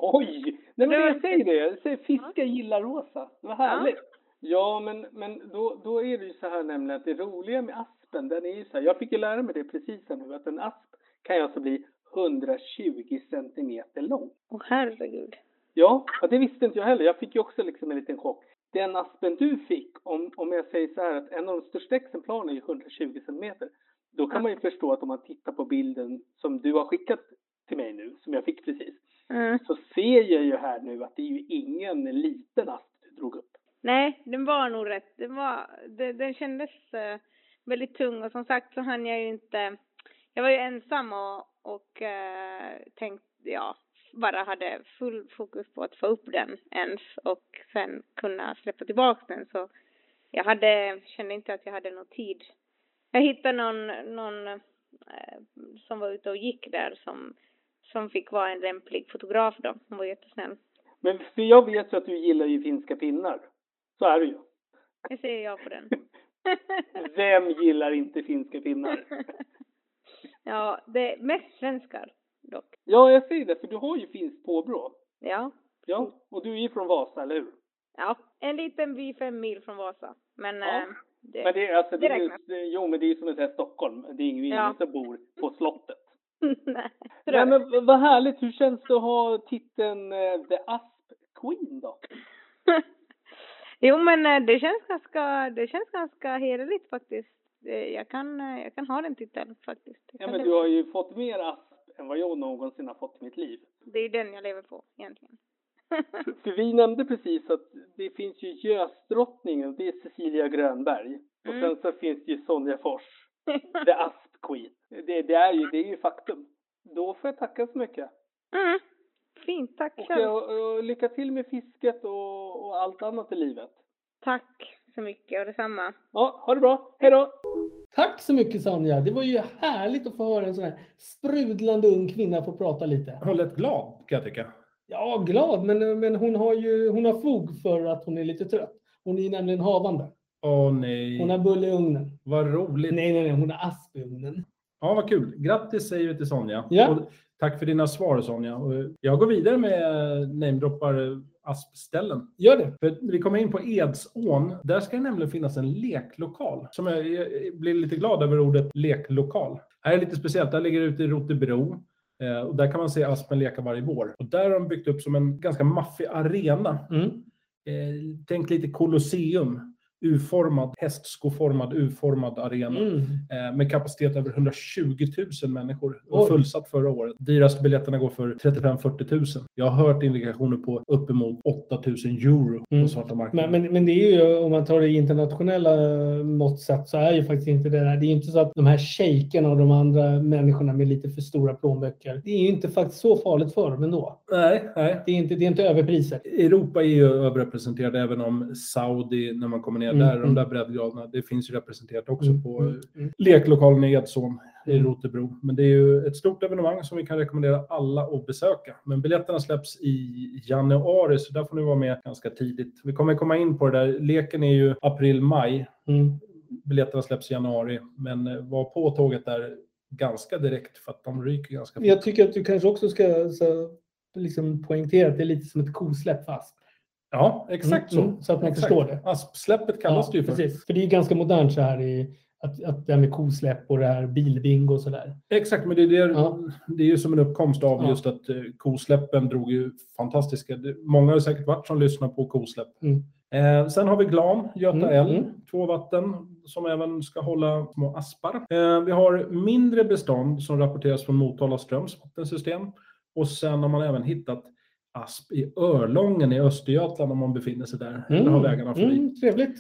Oj! Nej, men
Det var-
jag säger det. Jag säger fiskar gillar rosa. Det var härligt. Ja, men, men då, då är det ju så här nämligen att det roliga med aspen, den är ju så här, jag fick ju lära mig det precis här nu, att en asp kan ju alltså bli 120 centimeter lång.
Åh herregud.
Ja, ja, det visste inte jag heller. Jag fick ju också liksom en liten chock. Den aspen du fick, om, om jag säger så här att en av de största exemplaren är ju 120 centimeter. Då kan man ju förstå att om man tittar på bilden som du har skickat till mig nu, som jag fick precis,
Mm.
så ser jag ju här nu att det är ju ingen liten asp du drog upp.
Nej, den var nog rätt. Den, var, det, den kändes eh, väldigt tung och som sagt så hann jag ju inte. Jag var ju ensam och, och eh, tänkte, ja, bara hade full fokus på att få upp den ens och sen kunna släppa tillbaka den så jag hade, kände inte att jag hade någon tid. Jag hittade någon, någon eh, som var ute och gick där som som fick vara en lämplig fotograf då. Hon var jättesnäll.
Men för jag vet ju att du gillar ju finska pinnar. Så är
[LAUGHS]
det ju.
Det säger jag på den. [LAUGHS]
Vem gillar inte finska pinnar?
[LAUGHS] ja, det är mest svenskar dock.
Ja, jag säger det, för du har ju finskt påbrå.
Ja.
Ja, och du är ju från Vasa, eller hur?
Ja, en liten by fem mil från Vasa. Men,
Ja.
eh, det,
Men det är alltså, det
det
är ju,
räknas.
det- jo men det är ju som att säga Stockholm. Det är ju ingen
Ja.
som bor på
[LAUGHS]
slottet.
[LAUGHS] Nej,
Nej
men,
men v- vad härligt, hur känns det att ha titeln eh, The Asp Queen då?
[LAUGHS] Jo, men eh, det känns ganska, det känns ganska hederligt faktiskt. Eh, Jag kan, eh, jag kan ha den titeln faktiskt. Jag
Ja
kan
men
leva-
du har ju fått mer asp än vad jag någonsin har fått i mitt liv.
Det är den jag lever på
[LAUGHS]
egentligen. [LAUGHS]
För- För vi nämnde precis att det finns ju Gösdrottningen, det är Cecilia Grönberg. Och
Mm.
sen så finns det ju Sonja Fors, [LAUGHS] The Asp Queen. Det, det, är ju, det är ju faktum. Då får jag tacka så mycket.
mm. Fint, tack
Och,
själv.
jag- och lycka till med fisket och, och allt annat i livet.
Tack så mycket och detsamma.
Ja, ha det bra. Hej då!
Tack så mycket Sonja. Det var ju härligt att få höra en sån här sprudlande ung kvinna få prata lite.
Hon lät glad kan jag tycka.
Ja, glad, men, men hon har ju hon har fog för att hon är lite trött. Hon är ju nämligen havande.
Åh nej,
Hon har bulle i ugnen.
vad roligt.
Nej, nej, nej, hon har asp i ugnen.
Ja, vad kul. Grattis säger vi till Sonja.
Ja.
Och tack för dina svar Sonja. Och Jag går vidare med eh, namedroppar eh, aspställen.
Gör det.
För vi kommer in på Edsån. Där ska det nämligen finnas en leklokal. Som jag jag blir lite glad över ordet leklokal. Här är lite speciellt. Där ligger det ute i Rotebro. Eh, Och där kan man se aspen leka varje vår. Och där har de byggt upp som en ganska maffig arena.
Mm.
Eh, Tänk lite Colosseum. U-formad, hästskoformad, U-formad arena.
Mm.
Eh, med kapacitet över 120 000 människor. Och
Oj.
fullsatt förra året. Dyraste biljetterna går för 35-40 000. Jag har hört indikationer på uppemot 8 000 euro på
Mm.
svarta
Men,
marknaden.
men, men det är ju, om man tar det internationella eh, mått sett, så är ju faktiskt inte det där. Det är ju inte så att de här shejkerna och de andra människorna med lite för stora plånböcker, det är ju inte faktiskt så farligt för dem ändå.
Nej, nej.
Det är inte, det är inte överpriser.
Europa är ju överrepresenterade även om Saudi, när man kommer ner
Mm,
där, de
mm.
där breddgraderna, det finns ju representerat också
Mm,
på
mm,
eh, leklokalen i Edsån i
Mm.
Rotebro. Men det är ju ett stort evenemang som vi kan rekommendera alla att besöka. Men biljetterna släpps i januari, så där får ni vara med ganska tidigt. Vi kommer komma in på det där, leken är ju april-maj,
Mm.
biljetterna släpps i januari, men eh, var på tåget där ganska direkt för att de ryker ganska fort.
Jag tycker att du kanske också ska så, liksom poängtera att det är lite som ett kosläpp för asp.
Ja, exakt
Mm,
så.
mm, så att man
Exakt.
förstår det.
Aspsläppet kallas det ju för.
precis. För det är ju ganska modernt så här i, att, att det här med kosläpp och det här bilbingo och sådär.
Exakt, men det är, det,
Ja.
det är ju som en uppkomst av
Ja.
just att eh, kosläppen drog ju fantastiska... det- Många har säkert varit som lyssnar på kosläpp.
Mm.
Eh, sen har vi Glan, Göta
Mm,
älv,
mm.
två vatten som även ska hålla små aspar. Eh, vi har mindre bestånd som rapporteras från Motala Ströms vattensystem. Och sen har man även hittat asp i Örlången i Östergötland om man befinner sig där. Eller har vägarna förbi.
mm, trevligt.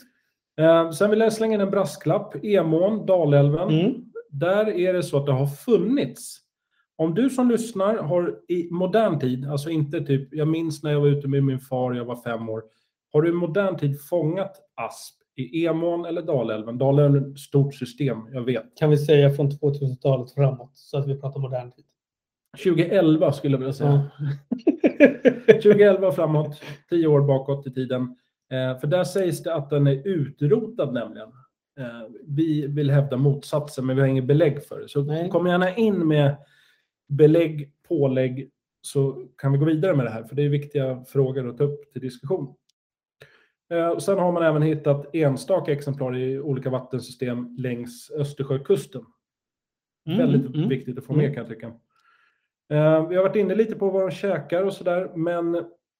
Eh, sen vill jag slänga in en brasklapp. Emån, Dalälven
Mm.
där är det så att det har funnits. Om du som lyssnar har i modern tid, alltså inte typ, jag minns när jag var ute med min far, jag var fem år. Har du i modern tid fångat asp i Emån eller Dalälven? Dalälven är ett stort system, jag vet.
Kan vi säga från 2000-talet framåt så att vi pratar modern tid.
2011 skulle jag vilja säga. [LAUGHS] 2011 framåt, 10 år bakåt i tiden. Eh, för där sägs det att den är utrotad nämligen. Eh, vi vill hävda motsatsen, men vi har inget belägg för det. Så
Nej.
kom gärna in med belägg, pålägg, så kan vi gå vidare med det här. För det är viktiga frågor att ta upp till diskussion. Eh, och sen har man även hittat enstaka exemplar i olika vattensystem längs Östersjökusten. Väldigt viktigt att få med
mm.
kan jag tycka. Eh, vi har varit inne lite på vad de käkar och sådär, men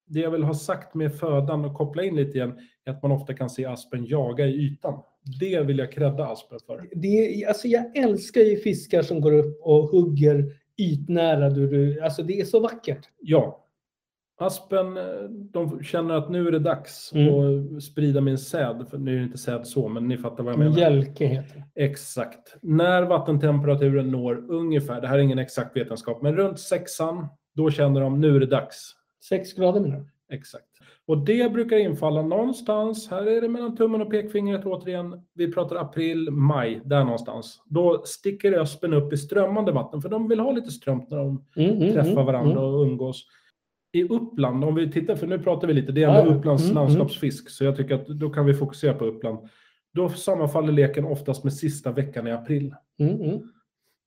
det jag vill ha sagt med födan och koppla in lite igen är att man ofta kan se aspen jaga i ytan. Det vill jag credda aspen för.
Det, är- alltså jag älskar ju fiskar som går upp och hugger ytnära. Du, du, alltså det är så vackert.
Ja. Aspen, eh, de känner att nu är det dags
Mm. Mm,
att sprida min säd. För nu är det inte säd så, men ni fattar vad jag menar.
Mjälke heter det.
Exakt. När vattentemperaturen når ungefär, det här är ingen exakt vetenskap, men runt sexan, då känner de nu är det dags.
Sex grader menar du?
Exakt. Och det brukar infalla någonstans, här är det mellan tummen och pekfingret återigen, vi pratar april, maj, där någonstans. Då sticker öspen upp i strömmande vatten, för de vill ha lite strömt när de
Mm, mm,
träffar
mm,
varandra
mm.
och umgås. I Uppland, om vi tittar, för nu pratar vi lite, det är
Ja,
ändå
ja.
Upplands
Mm, mm.
landskapsfisk, så jag tycker att då kan vi fokusera på Uppland. Då sammanfaller leken oftast med sista veckan i april.
Mm, mm.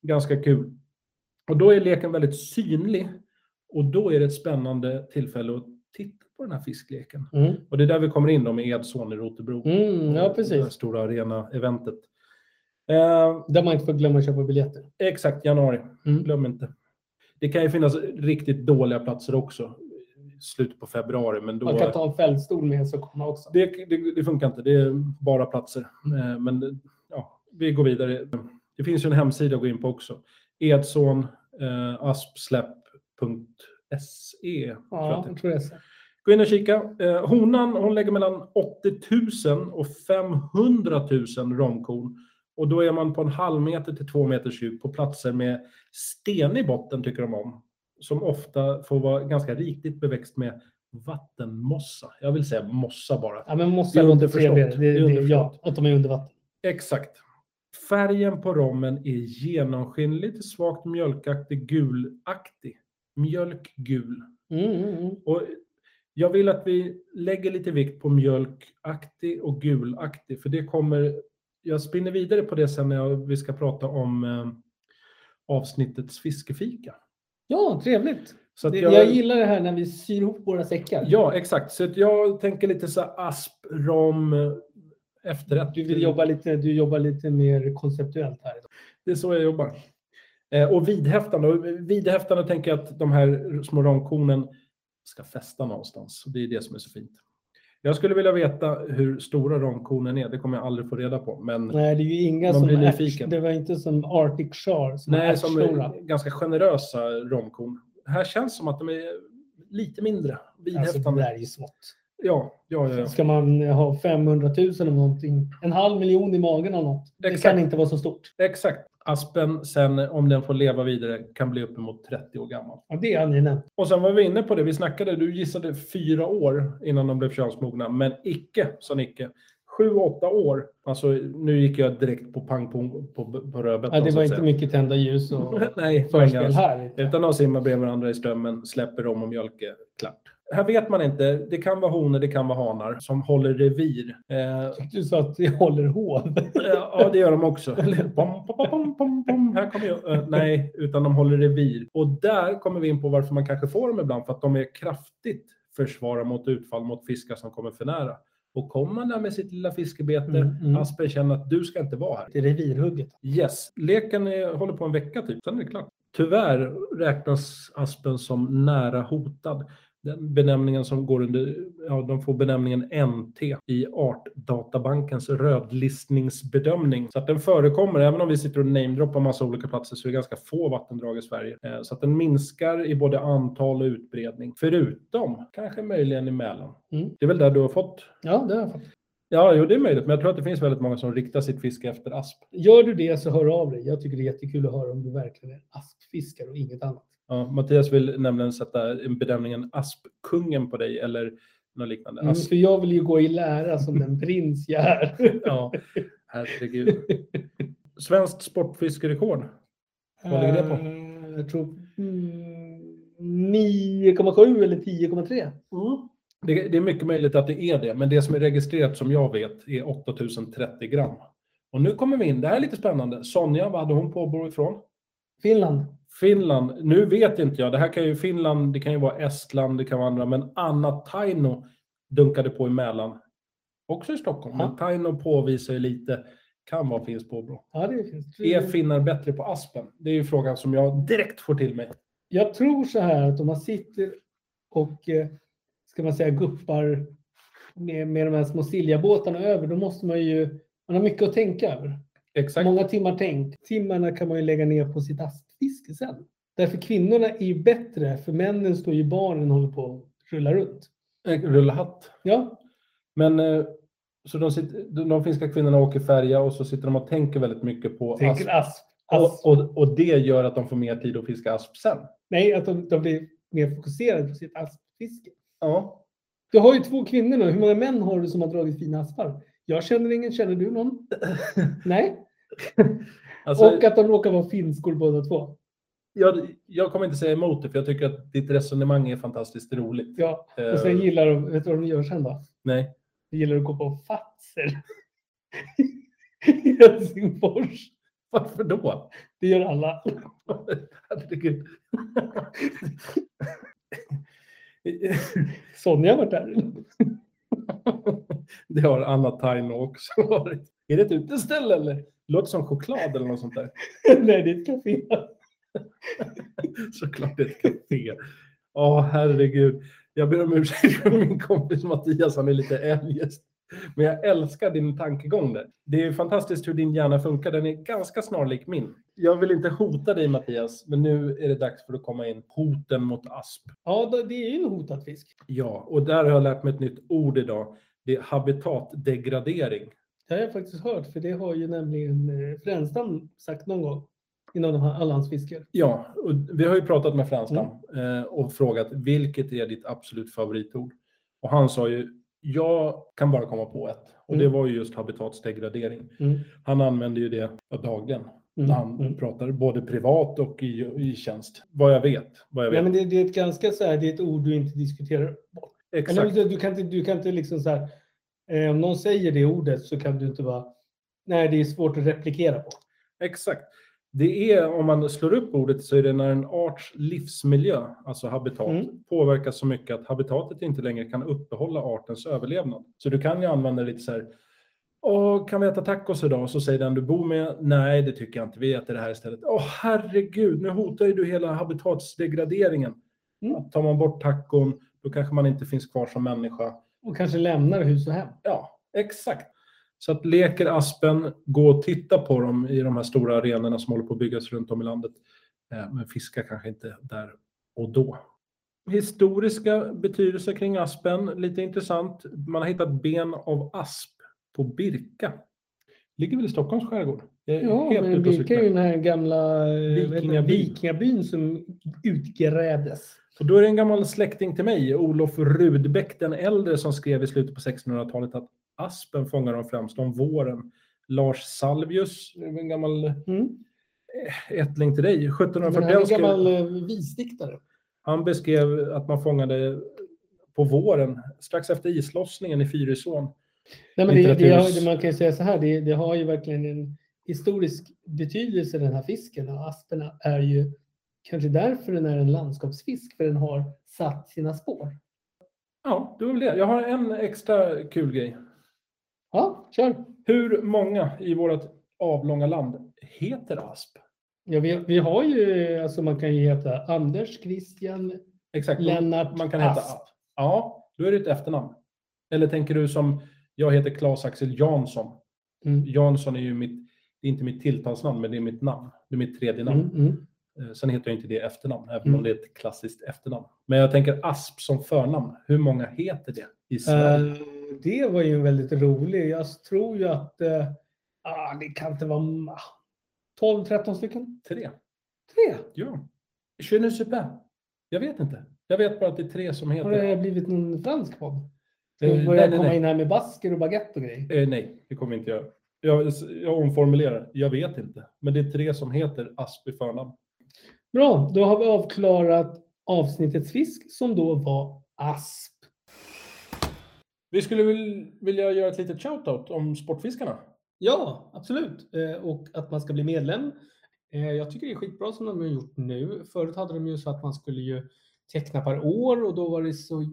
Ganska kul. Och då är leken väldigt synlig och då är det ett spännande tillfälle att titta på den här fiskleken.
Mm.
Och det är där vi kommer in då med Edson i Rotebro.
Mm, ja,
Det här
precis.
stora arena-eventet. Eh,
Där man inte får glömma att köpa biljetter.
exakt, januari.
Mm.
Glöm inte. Det kan ju finnas riktigt dåliga platser också. i Slutet på februari, men
Man kan
då...
ta en fällstol med sig och komma också.
Det, det, det funkar inte. Det är bara platser. Eh, men ja, vi går vidare. Det finns ju en hemsida att gå in på också. Edson, eh, aspsläpp.se. E, tror jag att
Ja,
det är.
jag tror jag så.
Gå in och kika. Eh, honan hon lägger mellan 80 000 och 500 000 romkorn. Och då är man på en halv meter till två meters djup på platser med sten i botten tycker de om. Som ofta får vara ganska riktigt beväxt med vattenmossa. Jag vill säga mossa bara.
Ja, men
Det
måste
är
låta
underförstått.
trevligare.
Det är
Det, det, ja,
underförstått.
att de är under vatten.
Exakt. Färgen på rommen är genomskinlig till svagt mjölkaktig gulaktig. Mjölkgul.
Mm, mm, mm.
Och jag vill att vi lägger lite vikt på mjölkaktig och gulaktig, för det kommer... Jag spinner vidare på det sen när jag, vi ska prata om eh, avsnittets fiskefika.
Ja, trevligt.
Så att
Det,
jag,
jag... gillar det här när vi syr ihop våra säckar.
Ja, exakt. Så att jag tänker lite så här asp, rom, eh, efterrätt.
Du vill jobba lite, du jobbar lite mer konceptuellt här. idag.
Det är så jag jobbar. Eh, och vidhäftande. Och vidhäftande tänker jag att de här små ramkornen ska fästa någonstans. Det är det som är så fint. Jag skulle vilja veta hur stora ramkornen är. Det kommer jag aldrig få reda på. Men nej,
Nej, det är ju inga
Man
som
blir
är
nyfiken.
Det var inte som Arctic Char som är
som
ärtstora.
är ganska generösa ramkorn. Här känns som att de är lite mindre.
Alltså, det
Vidhäftande.
där är ju smått.
ja, ja, ja, ja.
Ska man ha 500 000 eller någonting, en halv miljon i magen eller något. Det
Exakt.
kan inte vara så stort.
Exakt. Aspen sen, om den får leva vidare, kan bli uppemot 30 år gammal.
Ja, det är ni nämnt.
Och sen var vi inne på det, vi snackade, du gissade fyra år innan de blev könsmogna, men icke, sa Nicke. Sju, åtta år. Alltså, nu gick jag direkt på pang på, på, på rödbetan.
Ja, det
så
var
att
inte
säga. Mm.
mycket tända ljus och
Nej, inga
förspel
alls.
här.
Utan de simmar bredvid varandra i strömmen, släpper om och mjölke, klart. Här vet man inte, det kan vara honor, det kan vara hanar som håller revir. Eh,
Du sa att jag håller hov.
Ja, det gör de också. Pom, pom, pom, pom, pom. Här kommer jag. Eh, Nej, utan de håller revir. Och där kommer vi in på varför man kanske får dem ibland, för att de är kraftigt försvara mot utfall mot fiskar som kommer för nära. Och kommer man där med sitt lilla fiskebete,
Mm, mm.
Aspen känner att du ska inte vara här.
Det är revirhugget.
Yes, leken är, håller på en vecka typ, sen är det klart. Tyvärr räknas Aspen som nära hotad. Den benämningen som går under, ja, de får benämningen NT i Artdatabankens rödlistningsbedömning. Så att den förekommer, även om vi sitter och namedroppar massa olika platser, så är det ganska få vattendrag i Sverige. Eh, Så att den minskar i både antal och utbredning, förutom kanske möjligen i Mälaren.
Mm.
Det är väl där du har fått?
Ja, det har jag fattat.
Ja, jo, det är möjligt, men jag tror att det finns väldigt många som riktar sitt fiske efter asp.
Gör du det så hör av dig. Jag tycker det är jättekul att höra om du verkligen är askfiskare och inget annat.
Ja, Mattias vill nämligen sätta bedömningen Aspkungen på dig eller något liknande.
Mm,
Asp,
för jag vill ju gå i lära som den prins jag är.
ja, herregud. Svenskt sportfiskerekord. [LAUGHS] Vad ligger det på?
Eh, Jag tror mm, 9,7 eller 10,3.
Mm. Det, det är mycket möjligt att det är det, men det som är registrerat som jag vet är 8030 gram. Och nu kommer vi in, det här är lite spännande. Sonja, vad hade hon påbor ifrån?
Finland.
Finland, nu vet inte jag, det här kan ju Finland, det kan ju vara Estland, det kan vara andra, men Anna Taino dunkade på i Mälaren. Också i Stockholm, men
Ja.
Taino påvisar ju lite, kan vara finns påbrå.
Ja, det finns.
Är finnar bättre på aspen? Det är ju frågan som jag direkt får till mig.
Jag tror så här att om man sitter och eh, ska man säga guppar med, med de här små siljabåtarna över, då måste man ju, man har mycket att tänka över.
Exakt.
Många timmar tänk. Timmarna kan man ju lägga ner på sitt askfiske sen. Därför kvinnorna är ju bättre, för männen står ju i baren och håller på att rulla runt.
Eh, Rulla hatt.
Ja,
Men eh, så de, sitter, de de finska kvinnorna åker färja och så sitter de och tänker väldigt mycket på asp.
tänker asp. asp.
Och, och, och det gör att de får mer tid att fiska asp sen.
Nej, att de, de blir mer fokuserade på sitt askfiske.
Ja.
Du har ju två kvinnor nu. Hur många män har du som har dragit fina aspar? Jag känner ingen. Känner du någon? Nej.
Alltså,
Och att de råkar vara finskor båda två.
jag, jag kommer inte säga emot det, för jag tycker att ditt resonemang är fantastiskt roligt.
Ja.
Eh,
Och sen gillar de, vet du vad de gör sen då?
nej. [LAUGHS]
De gillar att gå på fatser. [LAUGHS] I Helsingfors.
Varför då?
Det gör alla.
Herregud. [LAUGHS]
Sonja har varit där. [LAUGHS]
det har Anna Taino också varit. Är det ett uteställe eller? Låter som choklad eller något sånt där.
Nej, det är ett café.
[LAUGHS] Såklart ett café. Ja, herregud. Jag ber om ursäkt för min kompis Mattias, han är lite eljest. Men jag älskar din tankegång där. Det är ju fantastiskt hur din hjärna funkar. Den är ganska snarlik min. Jag vill inte hota dig Mattias, men nu är det dags för att komma in. Hoten mot asp.
Ja, då- det är ju en hotad fisk.
Ja, och där har jag lärt mig ett nytt ord idag. Det är habitatdegradering.
Det har jag faktiskt hört, för det har ju nämligen eh, Frändstam sagt någon gång. Inom de här Allansfiskar.
Ja, och vi har ju pratat med Franstam
Mm.
eh, och frågat vilket är ditt absolut favoritord? Och han sa ju, jag kan bara komma på ett. Och
Mm.
det var ju just habitatsdegradering.
Mm.
Han använder ju det dagligen
Mm.
när han
Mm.
pratar, både privat och i, i tjänst. Vad jag vet. Vad jag vet.
Nej, men det, det är ett ganska så här, det är ett ord du inte diskuterar bort. Eller,
Exakt.
du, du kan inte, du kan inte liksom så här, eh, om någon säger det ordet så kan du inte bara, nej det är svårt att replikera på.
Exakt. Det är, om man slår upp ordet så är det när en arts livsmiljö, alltså habitat,
Mm.
påverkas så mycket att habitatet inte längre kan uppehålla artens överlevnad. Så du kan ju använda lite så här, Åh, kan vi äta tacos idag? Så säger den du bor med, nej det tycker jag inte, vi äter det här istället. Åh herregud, nu hotar ju du hela habitatsdegraderingen.
Mm.
Tar man bort tacon, då kanske man inte finns kvar som människa.
Och kanske lämnar hus och hem.
Ja, exakt. Så att leker aspen, gå och titta på dem i de här stora arenorna som håller på att byggas runt om i landet. Eh, Men fiska kanske inte där och då. Historiska betydelser kring aspen, lite intressant. Man har hittat ben av asp på Birka. Ligger väl i Stockholms skärgård? Jag är
Ja,
helt
men
ute och
Birka är
cyklar.
ju den här gamla eh, vad heter det,
Vikingabyn.
vikingabyn som utgrävdes.
Och då är det en gammal släkting till mig, Olof Rudbeck den äldre, som skrev i slutet på 1600-talet att aspen fångar dem främst om våren. Lars Salvius, det är en gammal
Mm.
ättling till dig,
Men han är
1741
en gammal
skrev,
eh, visdiktare.
han beskrev att man fångade på våren, strax efter islossningen i Fyrisån.
Nej, men det, det, har-
Litteraturs-
det, man kan ju säga så här, det, det har ju verkligen en historisk betydelse den här fisken. Och aspen är ju kanske därför den är en landskapsfisk, för den har satt sina spår.
Ja, det var väl det. Jag har en extra kul grej.
Ja, kör!
Hur många i vårt avlånga land heter asp?
Ja, vi, vi har ju, alltså man kan ju heta Anders, Christian,
Exakt.
Lennart,
Man kan heta
Asp.
Ja, då är det ett efternamn. Eller tänker du som, jag heter Claes-Axel Jansson.
Mm.
Jansson är ju mitt, det är inte mitt tilltalsnamn, men det är mitt namn. Det är mitt tredje namn.
Mm, mm.
Eh, Sen heter jag inte det efternamn, även
Mm.
om det är ett klassiskt efternamn. Men jag tänker asp som förnamn. Hur många heter det i Sverige?
Eh, det var ju en väldigt rolig. Jag tror ju att eh, ah, det kan inte vara ma- 12-13 stycken.
Tre.
Tre.
Ja. Je ne sais pas. Jag vet inte. Jag vet bara att det är tre som heter
Har
det.
det blivit någon fransk podd? Ska
Eh,
vi börja
nej, nej,
komma
nej.
in här med basker och baguette och grejer?
Eh, nej, det kommer vi inte göra. Jag, jag omformulerar. Jag vet inte. Men det är tre som heter asp i förnamn.
Bra, då har vi avklarat avsnittets fisk som då var asp.
Vi skulle väl vilja göra ett litet shoutout om Sportfiskarna.
Ja, absolut. Eh, Och att man ska bli medlem. Eh, Jag tycker det är skitbra som de har gjort nu. Förut hade de ju så att man skulle ju teckna per år och då var det så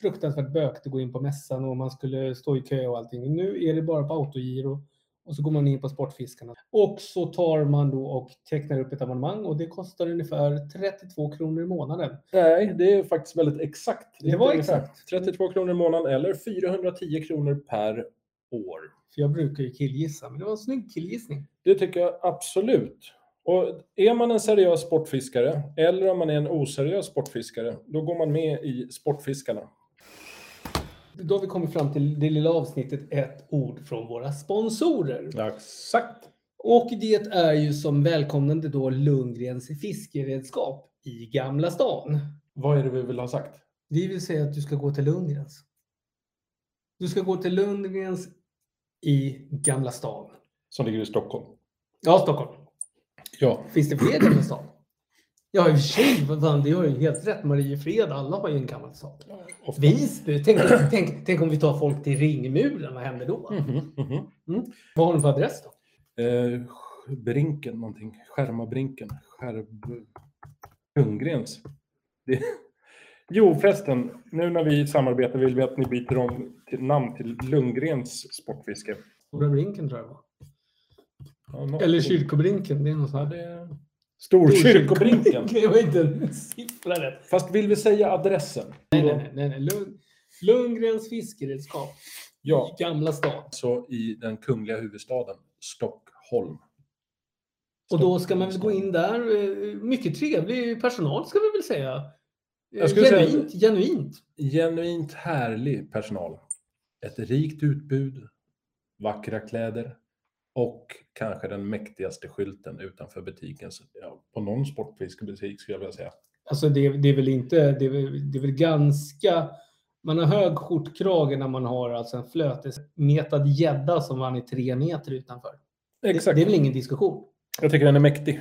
fruktansvärt bökigt att gå in på mässan och man skulle stå i kö och allting. Nu är det bara på autogiro och så går man in på Sportfiskarna. Och så tar man då och tecknar upp ett abonnemang och det kostar ungefär 32 kronor i månaden.
Nej, det är faktiskt väldigt exakt.
Det var
Inte ungefär.
exakt.
32 kronor i månaden eller 410 kronor per år.
För jag brukar ju killgissa, men det var en snygg killgissning.
Det tycker jag absolut. Och är man en seriös sportfiskare eller om man är en oseriös sportfiskare, då går man med i Sportfiskarna.
Då har vi kommit fram till det lilla avsnittet ett ord från våra sponsorer.
Exakt.
Och det är ju som välkomnande då Lundgrens fiskeredskap i Gamla stan.
Vad är det vi vill ha sagt?
Vi vill säga att du ska gå till Lundgrens. Du ska gå till Lundgrens i Gamla stan.
Som ligger i Stockholm.
Ja, Stockholm.
Ja.
Finns det fler Gamla stan? Ja, i och för sig. vad fan, Det har ju helt rätt. Mariefred, alla har ju en gammal stad.
ofta.
Visby. Tänk, tänk, tänk om vi tar folk till Ringmuren. Vad händer då?
Mhm, mhm.
Vad har de för adress då?
Eh, brinken någonting. Skärmabrinken. Skärb... Ljunggrens. Det... Jo förresten, nu när vi samarbetar vill vi att ni byter om till namn till Lundgrens Sportfiske.
Stora Brinken tror jag det var.
Ja, nå-
Eller Kyrkobrinken. Det är något
Ja,
sånt här.
det... Storkyrkobrinken.
[LAUGHS] Det var inte en siffra rätt.
Fast vill vi säga adressen?
Nej, nej, nej. nej. Lund, Lundgrens fiskeredskap.
Ja,
Gamla stad.
så i den kungliga huvudstaden Stockholm.
Och då ska man väl gå in där. eh, Mycket trevlig personal ska vi väl säga. Eh,
Jag skulle säga-
genuint, genuint.
Genuint härlig personal. Ett rikt utbud, vackra kläder och kanske den mäktigaste skylten utanför butiken. Så, Ja, på någon sportfiskebutik skulle jag vilja säga.
Alltså det, det är väl inte, det är väl, det är väl ganska, man har hög skjortkrage när man har alltså en flötesmetad gädda som man är tre meter utanför.
Exakt.
Det, det är väl ingen diskussion.
Jag tycker den är mäktig.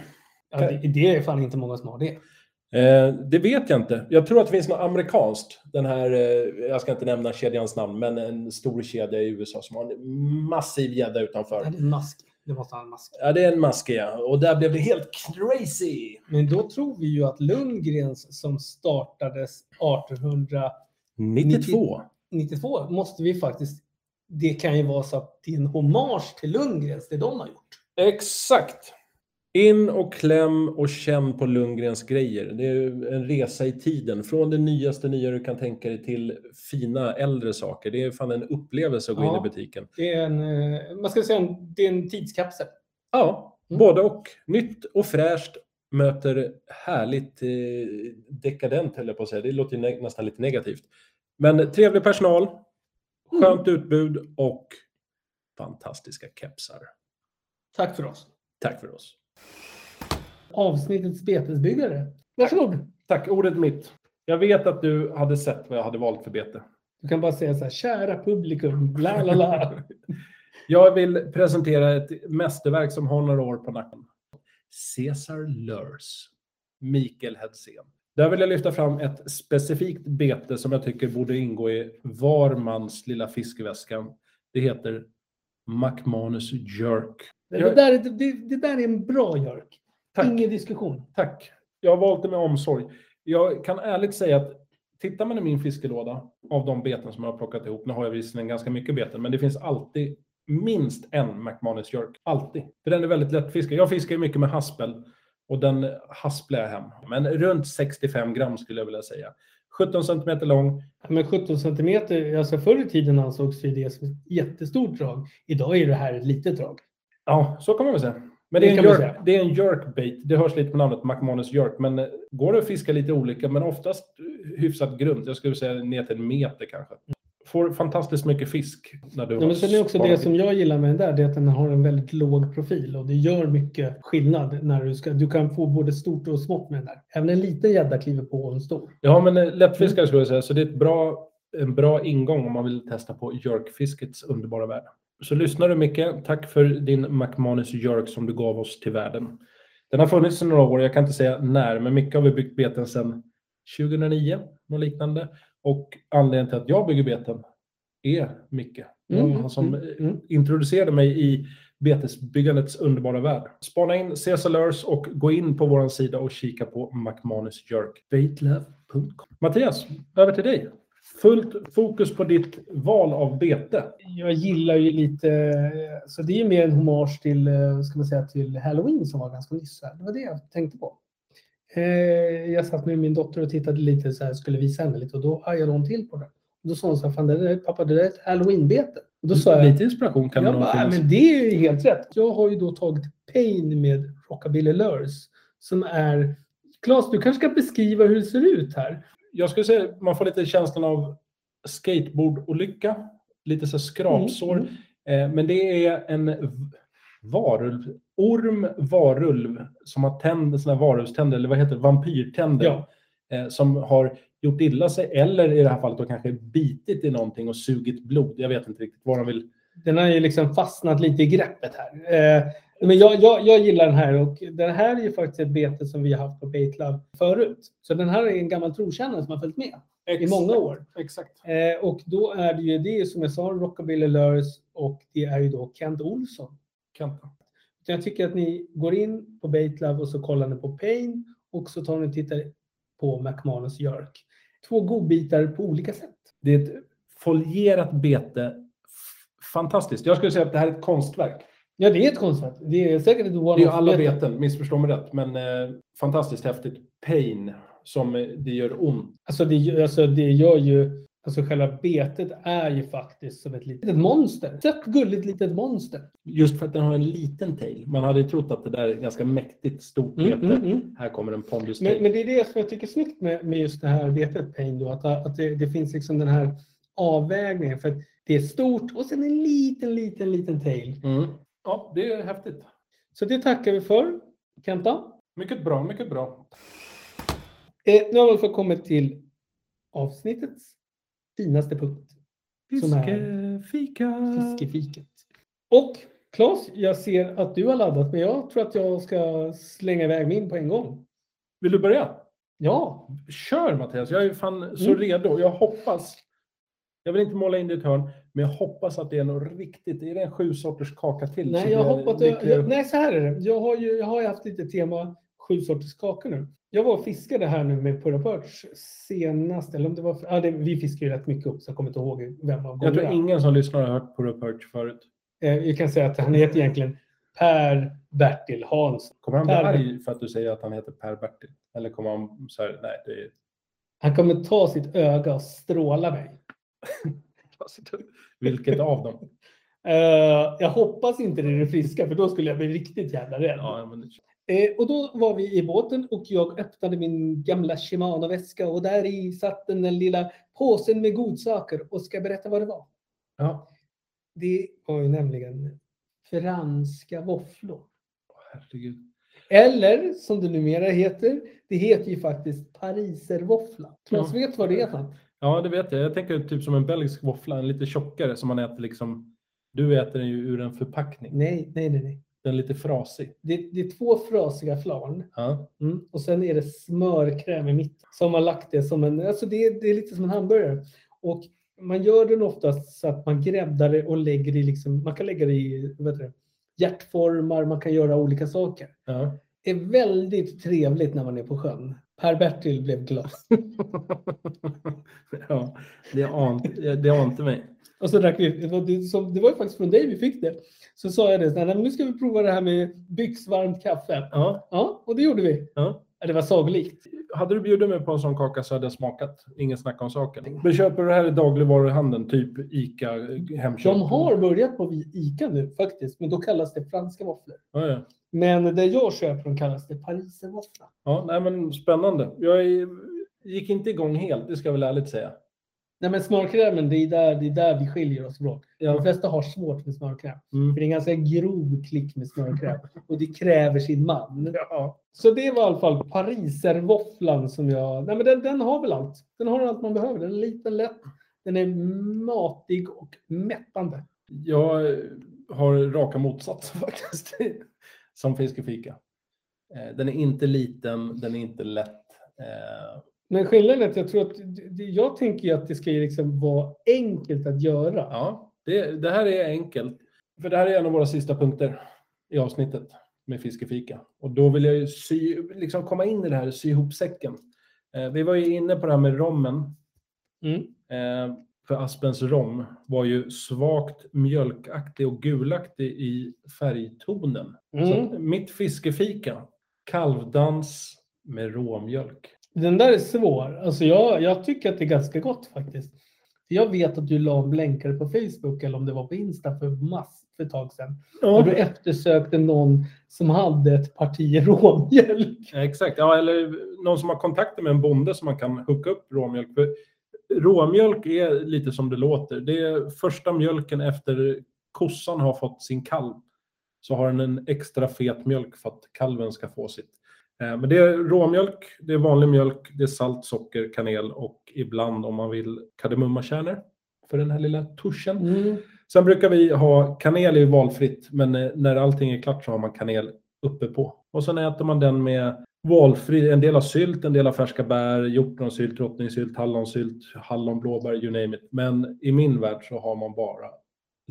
Ja, det, det är fan inte många som har det.
Eh, det vet jag inte. Jag tror att det finns något amerikanskt. Den här, eh, jag ska inte nämna kedjans namn, men en stor kedja i USA som har en massiv gädda
Det
utanför.
är en mask. Det måste ha en mask.
Ja, det är en maskig ja. Och där blev det helt crazy!
Men då tror vi ju att Lundgrens som startades 1892
92.
måste vi faktiskt, det kan ju vara så att det är en hommage till Lundgrens, det de har gjort.
Exakt! In och kläm och känn på Lundgrens grejer. Det är ju en resa i tiden. Från det nyaste nya du kan tänka dig till fina äldre saker. Det är fan en upplevelse att gå
Ja.
in i butiken.
Det är en, eh, man ska säga en, det är en tidskapsel.
Ja,
Mm.
både och. Nytt och fräscht möter härligt eh, dekadent, höll jag på att säga. Det låter ju nä- nästan lite negativt. Men trevlig personal, skönt utbud och fantastiska kepsar.
Tack för oss.
Tack för oss.
avsnittets betesbyggare. Varsågod.
Tack, ordet mitt. Jag vet att du hade sett vad jag hade valt för bete.
Du kan bara säga så här, kära publikum, bla bla bla.
Jag vill presentera ett mästerverk som har några år på nacken. Cesar Lörs, Mikael Hedsen. Där vill jag lyfta fram ett specifikt bete som jag tycker borde ingå i var mans lilla fiskeväska. Det heter McManus Jerk.
Det där, är- det, det där är en bra Jörk.
Tack.
Ingen diskussion.
Tack. Jag har valt det med omsorg. Jag kan ärligt säga att tittar man i min fiskelåda av de beten som jag har plockat ihop, nu har jag visserligen ganska mycket beten, men det finns alltid minst en McManus Jerk. Alltid. För den är väldigt lättfiskad. Jag fiskar ju mycket med haspel och den hasplar jag hem. Men runt 65 gram skulle jag vilja säga. 17 centimeter lång.
Men 17 centimeter, alltså förr i tiden ansågs ju det som ett jättestort drag. Idag är det här ett litet drag.
Ja, så kan man väl säga. Men
Det
det är, en
kan man
jerk,
säga.
det är en jerkbait. Det hörs lite på namnet, McManus jerk. Men eh, går det att fiska lite olika, men oftast eh, hyfsat grunt. Jag skulle säga ner till en meter kanske. Får fantastiskt mycket fisk när du
Ja, men sen är också det som jag gillar med den där, det är att den har en väldigt låg profil och det gör mycket skillnad när du ska, du kan få både stort och smått med den där. Även en liten gädda kliver på en stor.
Ja, men eh, lättfiskare skulle jag säga. Så det är ett bra, en bra ingång om man vill testa på jerkfiskets underbara värld. Så lyssnar du Micke, tack för din McManus jerk som du gav oss till världen. Den har funnits i några år, jag kan inte säga när, men mycket har vi byggt beten sedan 2009, något liknande. Och anledningen till att jag bygger beten är Micke. Det var
Mm,
Han som
mm,
eh,
mm.
introducerade mig i betesbyggandets underbara värld. Spana in CSLRs och gå in på vår sida och kika på McManus Jerk. Baitlove.com. Mattias, över till dig. Fullt fokus på ditt val av bete.
jag gillar ju lite, eh, så det är ju mer en hommage till, eh, ska man säga, till Halloween som var ganska nyss. här. Det var det jag tänkte på. Eh, Jag satt med min dotter och tittade lite så här, skulle visa henne lite och då hajade hon till på det. Och då sa hon så här, fan det där, är- pappa det där är ett halloweenbete. Och då sa jag,
Lite inspiration kan det
jag
nog
bara, "Ja,
finnas.
men det är ju helt rätt. Jag har ju då tagit Pain med Rockabilly Lures som är, Claes du kanske ska beskriva hur det ser ut här.
Jag skulle säga man får lite känslan av skateboardolycka. Lite så här skrapsår.
Mm.
Eh, Men det är en v- varulv, orm, varulv som har tänder, såna här varulvständer, eller vad heter det, vampyrtänder.
Ja.
eh, Som har gjort illa sig eller i det här fallet då kanske bitit i någonting och sugit blod. Jag vet inte riktigt vad de vill.
Den har ju liksom fastnat lite i greppet här. Eh, men jag, jag, jag gillar den här och den här är ju faktiskt ett bete som vi har haft på Baitlab förut. Så den här är en gammal trotjänare som har följt med i många år.
Exakt.
Eh, och då är det ju, det är ju som jag sa, Rockabilly Lurs och det är ju då Kent Olsson.
Kenta.
Så Jag tycker att ni går in på Baitlab och så kollar ni på Pain och så tar ni och tittar på McManus Jörk. Två godbitar på olika sätt.
Det är ett folierat bete. F- Fantastiskt. Jag skulle säga att det här är ett konstverk.
Ja, det är ett koncept. Det är säkert ett
Det är ju alla beten, missförstå mig rätt, men eh, fantastiskt häftigt. Pain, som eh, det gör ont.
Alltså det, gör- alltså det gör ju... Alltså själva betet är ju faktiskt som ett litet monster. Sött, gulligt litet monster.
Just för att den har en liten tail. Man hade ju trott att det där är ett ganska mäktigt stort bete. Här kommer en pondus tail.
Mm, Men, men det är det som jag tycker är snyggt med, med just det här betet, Pain, då, att, att det, det finns liksom den här avvägningen. För att det är stort och sen en liten, liten, liten tail.
Mm. Ja, det är häftigt.
Så det tackar vi för, Kenta.
Mycket bra, mycket bra.
Eh, nu har vi alltså kommit till avsnittets finaste punkt. Som är-
Fiskefika.
Mm. Fiskefiket. Och Claes, jag ser att du har laddat, men jag tror att jag ska slänga iväg min på en gång.
Vill du börja?
Ja,
Kör Mattias, jag är fan så
Mm.
redo. Jag hoppas. Jag vill inte måla in det i ett hörn, men jag hoppas att det är något riktigt. Är det en sju sorters kaka till? så
nej, jag
blir
hoppas jag,
lika-
jag, nej, så här är det. Jag har ju jag har ju haft lite tema sju sorters kakor nu. Jag var och fiskade här nu med Purra Perch senast, eller om det var, ja, det, vi fiskar ju rätt mycket upp så jag kommer inte ihåg vem av
Jag tror
gångerna.
ingen som lyssnar har hört på Perch förut.
Eh, Vi kan säga att han heter egentligen Per Bertil Hansson.
Kommer han bli
Per.
arg för att du säger att han heter Per-Bertil? Eller kommer han så här, nej, det är...
Han kommer ta sitt öga och stråla mig.
[LAUGHS] Vilket av dem?
Eh, jag hoppas inte det är det friska, för då skulle jag bli riktigt jävla rädd.
Ja, men...
Eh, och då var vi i båten och jag öppnade min gamla Shimano-väska och där i satt den där lilla påsen med godsaker och ska berätta vad det var.
ja.
Det var ju nämligen franska våfflor.
Herregud.
Eller som det numera heter, det heter ju faktiskt pariservåffla. Claes vet vad det är för något.
Ja, det vet jag. Jag tänker typ som en belgisk våffla, en lite tjockare som man äter liksom. Du äter den ju ur en förpackning.
Nej, nej, nej. nej.
Den är lite frasig.
Det, det är två frasiga flarn
Ja.
Mm. Och sen är det smörkräm i mitten. Som har lagt det som en, alltså det, är- det är lite som en hamburgare. Och man gör den oftast så att man gräddar det och lägger det i, liksom, man kan lägga det i vad heter det, hjärtformar, man kan göra olika saker.
Ja.
Det är väldigt trevligt när man är på sjön. Per-Bertil blev glad. [LAUGHS]
ja, det ante, det ante mig.
Och så drack vi, det var, det, som, det var ju faktiskt från dig vi fick det. Så sa jag det, så här, "Nej, men nu ska vi prova det här med byxvarmt kaffe.
Ja,
Ja, och det gjorde vi.
ja.
Ja, Det var sagolikt.
Hade du bjudit mig på en sån kaka så hade jag smakat. Ingen snack om saken. Men köper du det här i dagligvaruhandeln, typ ICA, eh, Hemköp?
De har börjat på ICA nu faktiskt, men då kallas det franska våfflor.
Ja, ja.
Men det jag köper de kallas det pariservåffla.
ja nej, men spännande. Jag är, gick inte igång helt, det ska jag väl ärligt säga.
Nej men smörkrämen, det är där, det är där vi skiljer oss från. De
Ja.
flesta har svårt med smörkräm.
Mm.
För det är en ganska grov klick med smörkräm. Och det kräver sin man.
Ja.
Så det var i alla fall pariservåfflan som jag... Nej men den, den har väl allt. Den har allt man behöver. Den är liten, lätt. Den är matig och mättande.
Jag eh, har raka motsatsen [LAUGHS] faktiskt, som fiskefika. Eh, Den är inte liten, den är inte lätt. Eh,
Men skillnaden är att jag tror att... Jag tänker ju att det ska ju liksom vara enkelt att göra.
Ja, det, det här är enkelt. För det här är en av våra sista punkter i avsnittet med fiskefika. Och då vill jag ju sy, liksom komma in i det här, sy ihop säcken. Eh, vi var ju inne på det här med rommen.
Mm.
Eh, för Aspens rom var ju svagt mjölkaktig och gulaktig i färgtonen.
Mm.
Så att mitt fiskefika, kalvdans med råmjölk.
Den där är svår. Alltså jag, jag tycker att det är ganska gott faktiskt. För Jag vet att du la en blänkare på Facebook eller om det var på Insta för mass för ett tag sedan. Och du eftersökte någon som hade ett parti råmjölk.
Ja, Exakt, ja, eller någon som har kontakter med en bonde som man kan hooka upp råmjölk. För råmjölk är lite som det låter. Det är första mjölken efter kossan har fått sin kalv. Så har den en extra fet mjölk för att kalven ska få sitt. Eh, Men det är råmjölk, det är vanlig mjölk, det är salt, socker, kanel och ibland om man vill kardemummakärnor för den här lilla tuschen.
Mm.
Sen brukar vi ha kanel är valfritt, men eh, när allting är klart så har man kanel uppe på. Och sen äter man den med valfri, en del av sylt, en del av färska bär, hjortronsylt, drottningsylt, hallonsylt, hallon, blåbär, you name it. Men i min värld så har man bara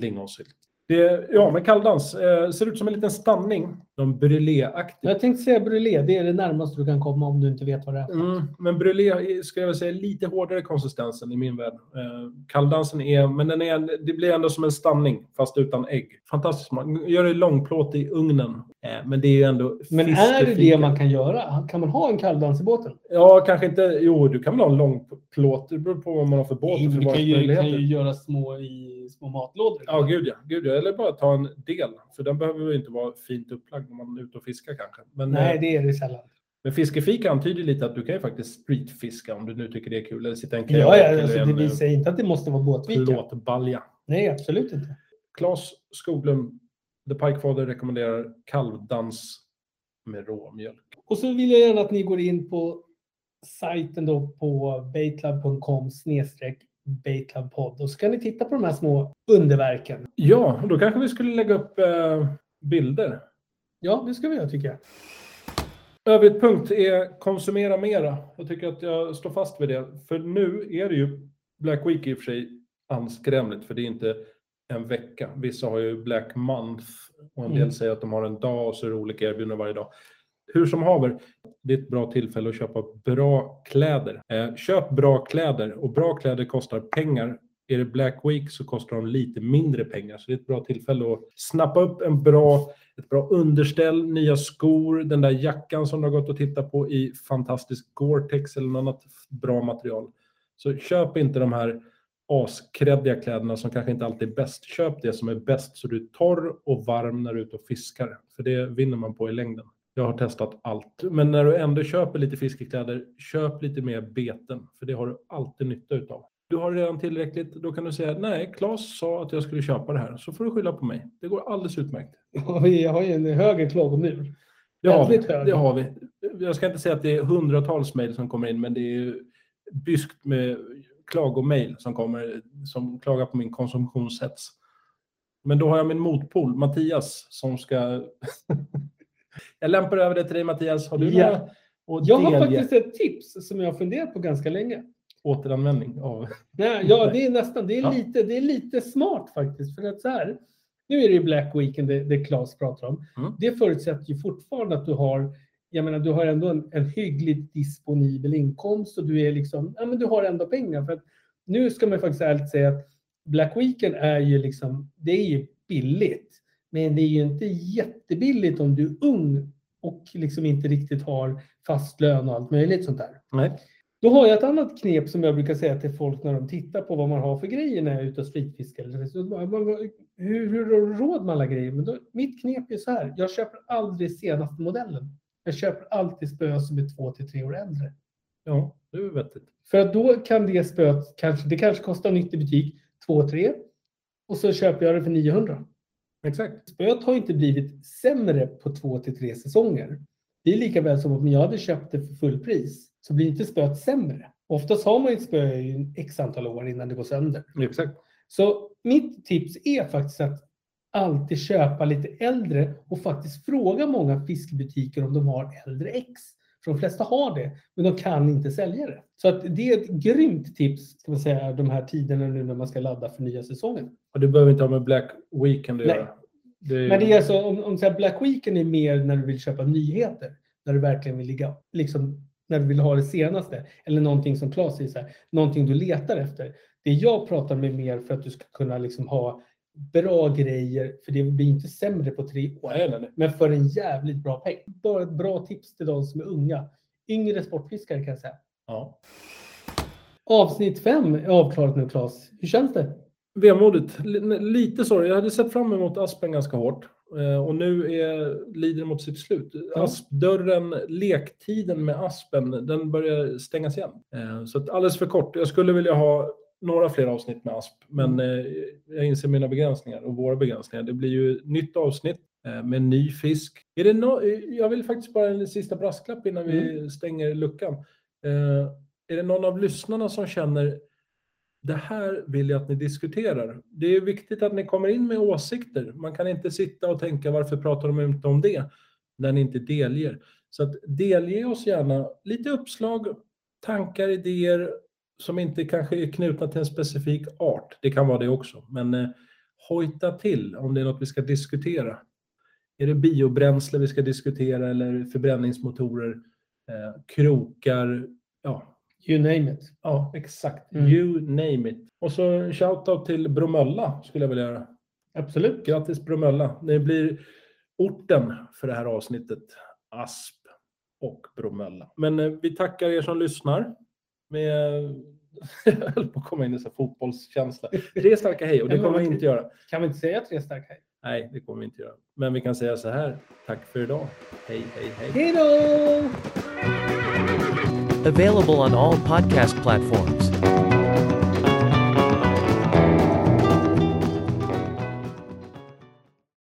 lingonsylt. Det, är- ja, men kalldans eh, ser ut som en liten stanning. De bruléaktig.
Jag tänkte säga brûlé, det är det närmaste du kan komma om du inte vet vad det är.
Mm, men brûlé är, skulle jag vilja säga är lite hårdare konsistensen i min värld. Eh, kalldansen är, men den är, det blir ändå som en stanning fast utan ägg. Fantastiskt man Gör det långplåt i ugnen. Eh, men det är ju ändå
Men är det
fiskefika.
det man kan göra? Kan man ha en kalldans i båten?
Ja, kanske inte. Jo, du kan väl ha en långplåt. Det beror på vad man har för båt
Nej,
och
men du kan ju, kan ju
förvaringsmöjligheter.
göra små i små matlådor.
Ja, gud ja, gud ja. Eller bara ta en del. För den behöver ju inte vara fint upplagd när man är ute och fiskar kanske. Men, eh,
Nej, det är det sällan.
Men fiskefika antyder lite att du kan ju faktiskt streetfiska om du nu tycker det är kul. Eller sitta i en
Ja, ja,
eller
alltså,
en,
det
eh,
visar inte att det måste vara båtvika.
plåtbalja.
Nej, absolut inte.
Claes Skoglund, The Pikefather, rekommenderar kalvdans med råmjölk.
Och så vill jag gärna att ni går in på sajten då på baitlab.com snedstreck baitlabpodd och så kan ni titta på de här små underverken.
Ja, och då kanske vi skulle lägga upp eh, bilder.
Ja, det ska vi göra tycker [LAUGHS] jag.
Övrigt punkt är konsumera mera. Jag tycker att jag står fast vid det. För nu är det ju Black Week i och för sig anskrämligt, för det är inte en vecka. Vissa har ju Black Month och en del
Mm.
säger att de har en dag och så är det olika erbjudanden varje dag. Hur som haver, det är ett bra tillfälle att köpa bra kläder. Eh, köp bra kläder och bra kläder kostar pengar. Är det Black Week så kostar de lite mindre pengar. Så det är ett bra tillfälle att snappa upp en bra ett bra underställ, nya skor, den där jackan som du har gått och tittat på i fantastisk Gore-Tex eller något annat bra material. Så köp inte de här askräddiga kläderna som kanske inte alltid är bäst. Köp det som är bäst så du är torr och varm när du är ute och fiskar. För det vinner man på i längden. Jag har testat allt. Men när du ändå köper lite fiskekläder, köp lite mer beten. För det har du alltid nytta utav. Du har redan tillräckligt. Då kan du säga nej, Claes sa att jag skulle köpa det här. Så får du skylla på mig. Det går alldeles utmärkt.
Och vi har ju en höger klagomur.
Det har, vi,
Väldigt hög.
det har vi. Jag ska inte säga att det är hundratals mejl som kommer in, men det är ju byskt med klagomejl som kommer som klagar på min konsumtionshets. Men då har jag min motpol, Mattias, som ska... [LAUGHS] jag lämpar över det till dig, Mattias. Har du
Ja.
några? Och
Jag har
delge
faktiskt ett tips som jag har funderat på ganska länge.
återanvändning av...
Nej, ja, det är nästan. Det är,
Ja.
lite, det är lite smart faktiskt. För att så här, nu är det ju Black Weekend det, det Claes pratar om.
Mm.
Det förutsätter ju fortfarande att du har, jag menar, du har ändå en, en hyggligt disponibel inkomst och du är liksom, ja men du har ändå pengar. För att nu ska man ju faktiskt ärligt säga att Black Weekend är ju liksom, det är ju billigt. Men det är ju inte jättebilligt om du är ung och liksom inte riktigt har fast lön och allt möjligt sånt där.
Nej.
Då har jag ett annat knep som jag brukar säga till folk när de tittar på vad man har för grejer när jag är ute och streetfiskar. eller så. Man- man- Hur, hur har råd med alla grejer? Men då, mitt knep är så här. Jag köper aldrig senaste modellen. Jag köper alltid spö som är två till tre år äldre.
Ja, det är vettigt.
För att då kan det spöet, kanske, det kanske kostar nytt i butik, 2-3 och så köper jag det för 900.
Exakt.
Spöet har inte blivit sämre på 2-3 säsonger. Det är lika väl som om jag hade köpt det för full pris så blir inte spöet sämre. Oftast har man ju ett spö i x antal år innan det går sönder.
Exakt.
Så mitt tips är faktiskt att alltid köpa lite äldre och faktiskt fråga många fiskebutiker om de har äldre ex. För de flesta har det, men de kan inte sälja det. Så att det är ett grymt tips, ska man säga, de här tiderna nu när man ska ladda för nya säsongen.
Och det behöver inte ha med Black Weekend att
Nej.
göra. Det är-
Men det är alltså, om, om så här Black Weekend är mer när du vill köpa nyheter, när du verkligen vill ligga, liksom, när du vill ha det senaste, eller någonting som Claes säger, så här, någonting du letar efter. Det jag pratar med mer för att du ska kunna liksom ha bra grejer, för det blir inte sämre på tre år,
Nej, nej, nej.
men för en jävligt bra peng. Bara ett bra tips till de som är unga, yngre sportfiskare kan jag säga.
Ja.
Avsnitt fem är avklarat nu Claes. Hur känns det?
Vemodigt. L- lite sorg. Jag hade sett fram emot Aspen ganska hårt. Eh, Och nu är, lider mot sitt slut. Aspdörren, lektiden med Aspen, den börjar stängas igen. Eh, Så att alldeles för kort. Jag skulle vilja ha några fler avsnitt med Asp, men eh, jag inser mina begränsningar och våra begränsningar. Det blir ju nytt avsnitt eh, med ny fisk. Är det nå- eh, jag vill faktiskt bara en sista brasklapp innan vi stänger luckan. Eh, är det någon av lyssnarna som känner det här vill jag att ni diskuterar. Det är viktigt att ni kommer in med åsikter. Man kan inte sitta och tänka varför pratar de inte om det när ni inte delger. Så att delge oss gärna lite uppslag, tankar, idéer som inte kanske är knutna till en specifik art. Det kan vara det också, men eh, hojta till om det är något vi ska diskutera. Är det biobränsle vi ska diskutera eller förbränningsmotorer, eh, krokar, ja,
You name it.
Ja, exakt.
Mm.
You name it. Och så en shoutout till Bromölla skulle jag vilja göra. Absolut. Grattis Bromölla. Ni blir orten för det här avsnittet. Asp och Bromölla. Men eh, vi tackar er som lyssnar. Med... [LAUGHS] Jag höll på att komma in i så här fotbollskänsla. Tre starka hej och det
Ja, men
kommer vi
vad-
inte göra.
Kan vi inte säga tre starka hej?
Nej, det kommer vi inte göra. Men vi kan säga så här. Tack för idag. Hej, hej, hej.
Hej då!
Available on all podcast platforms.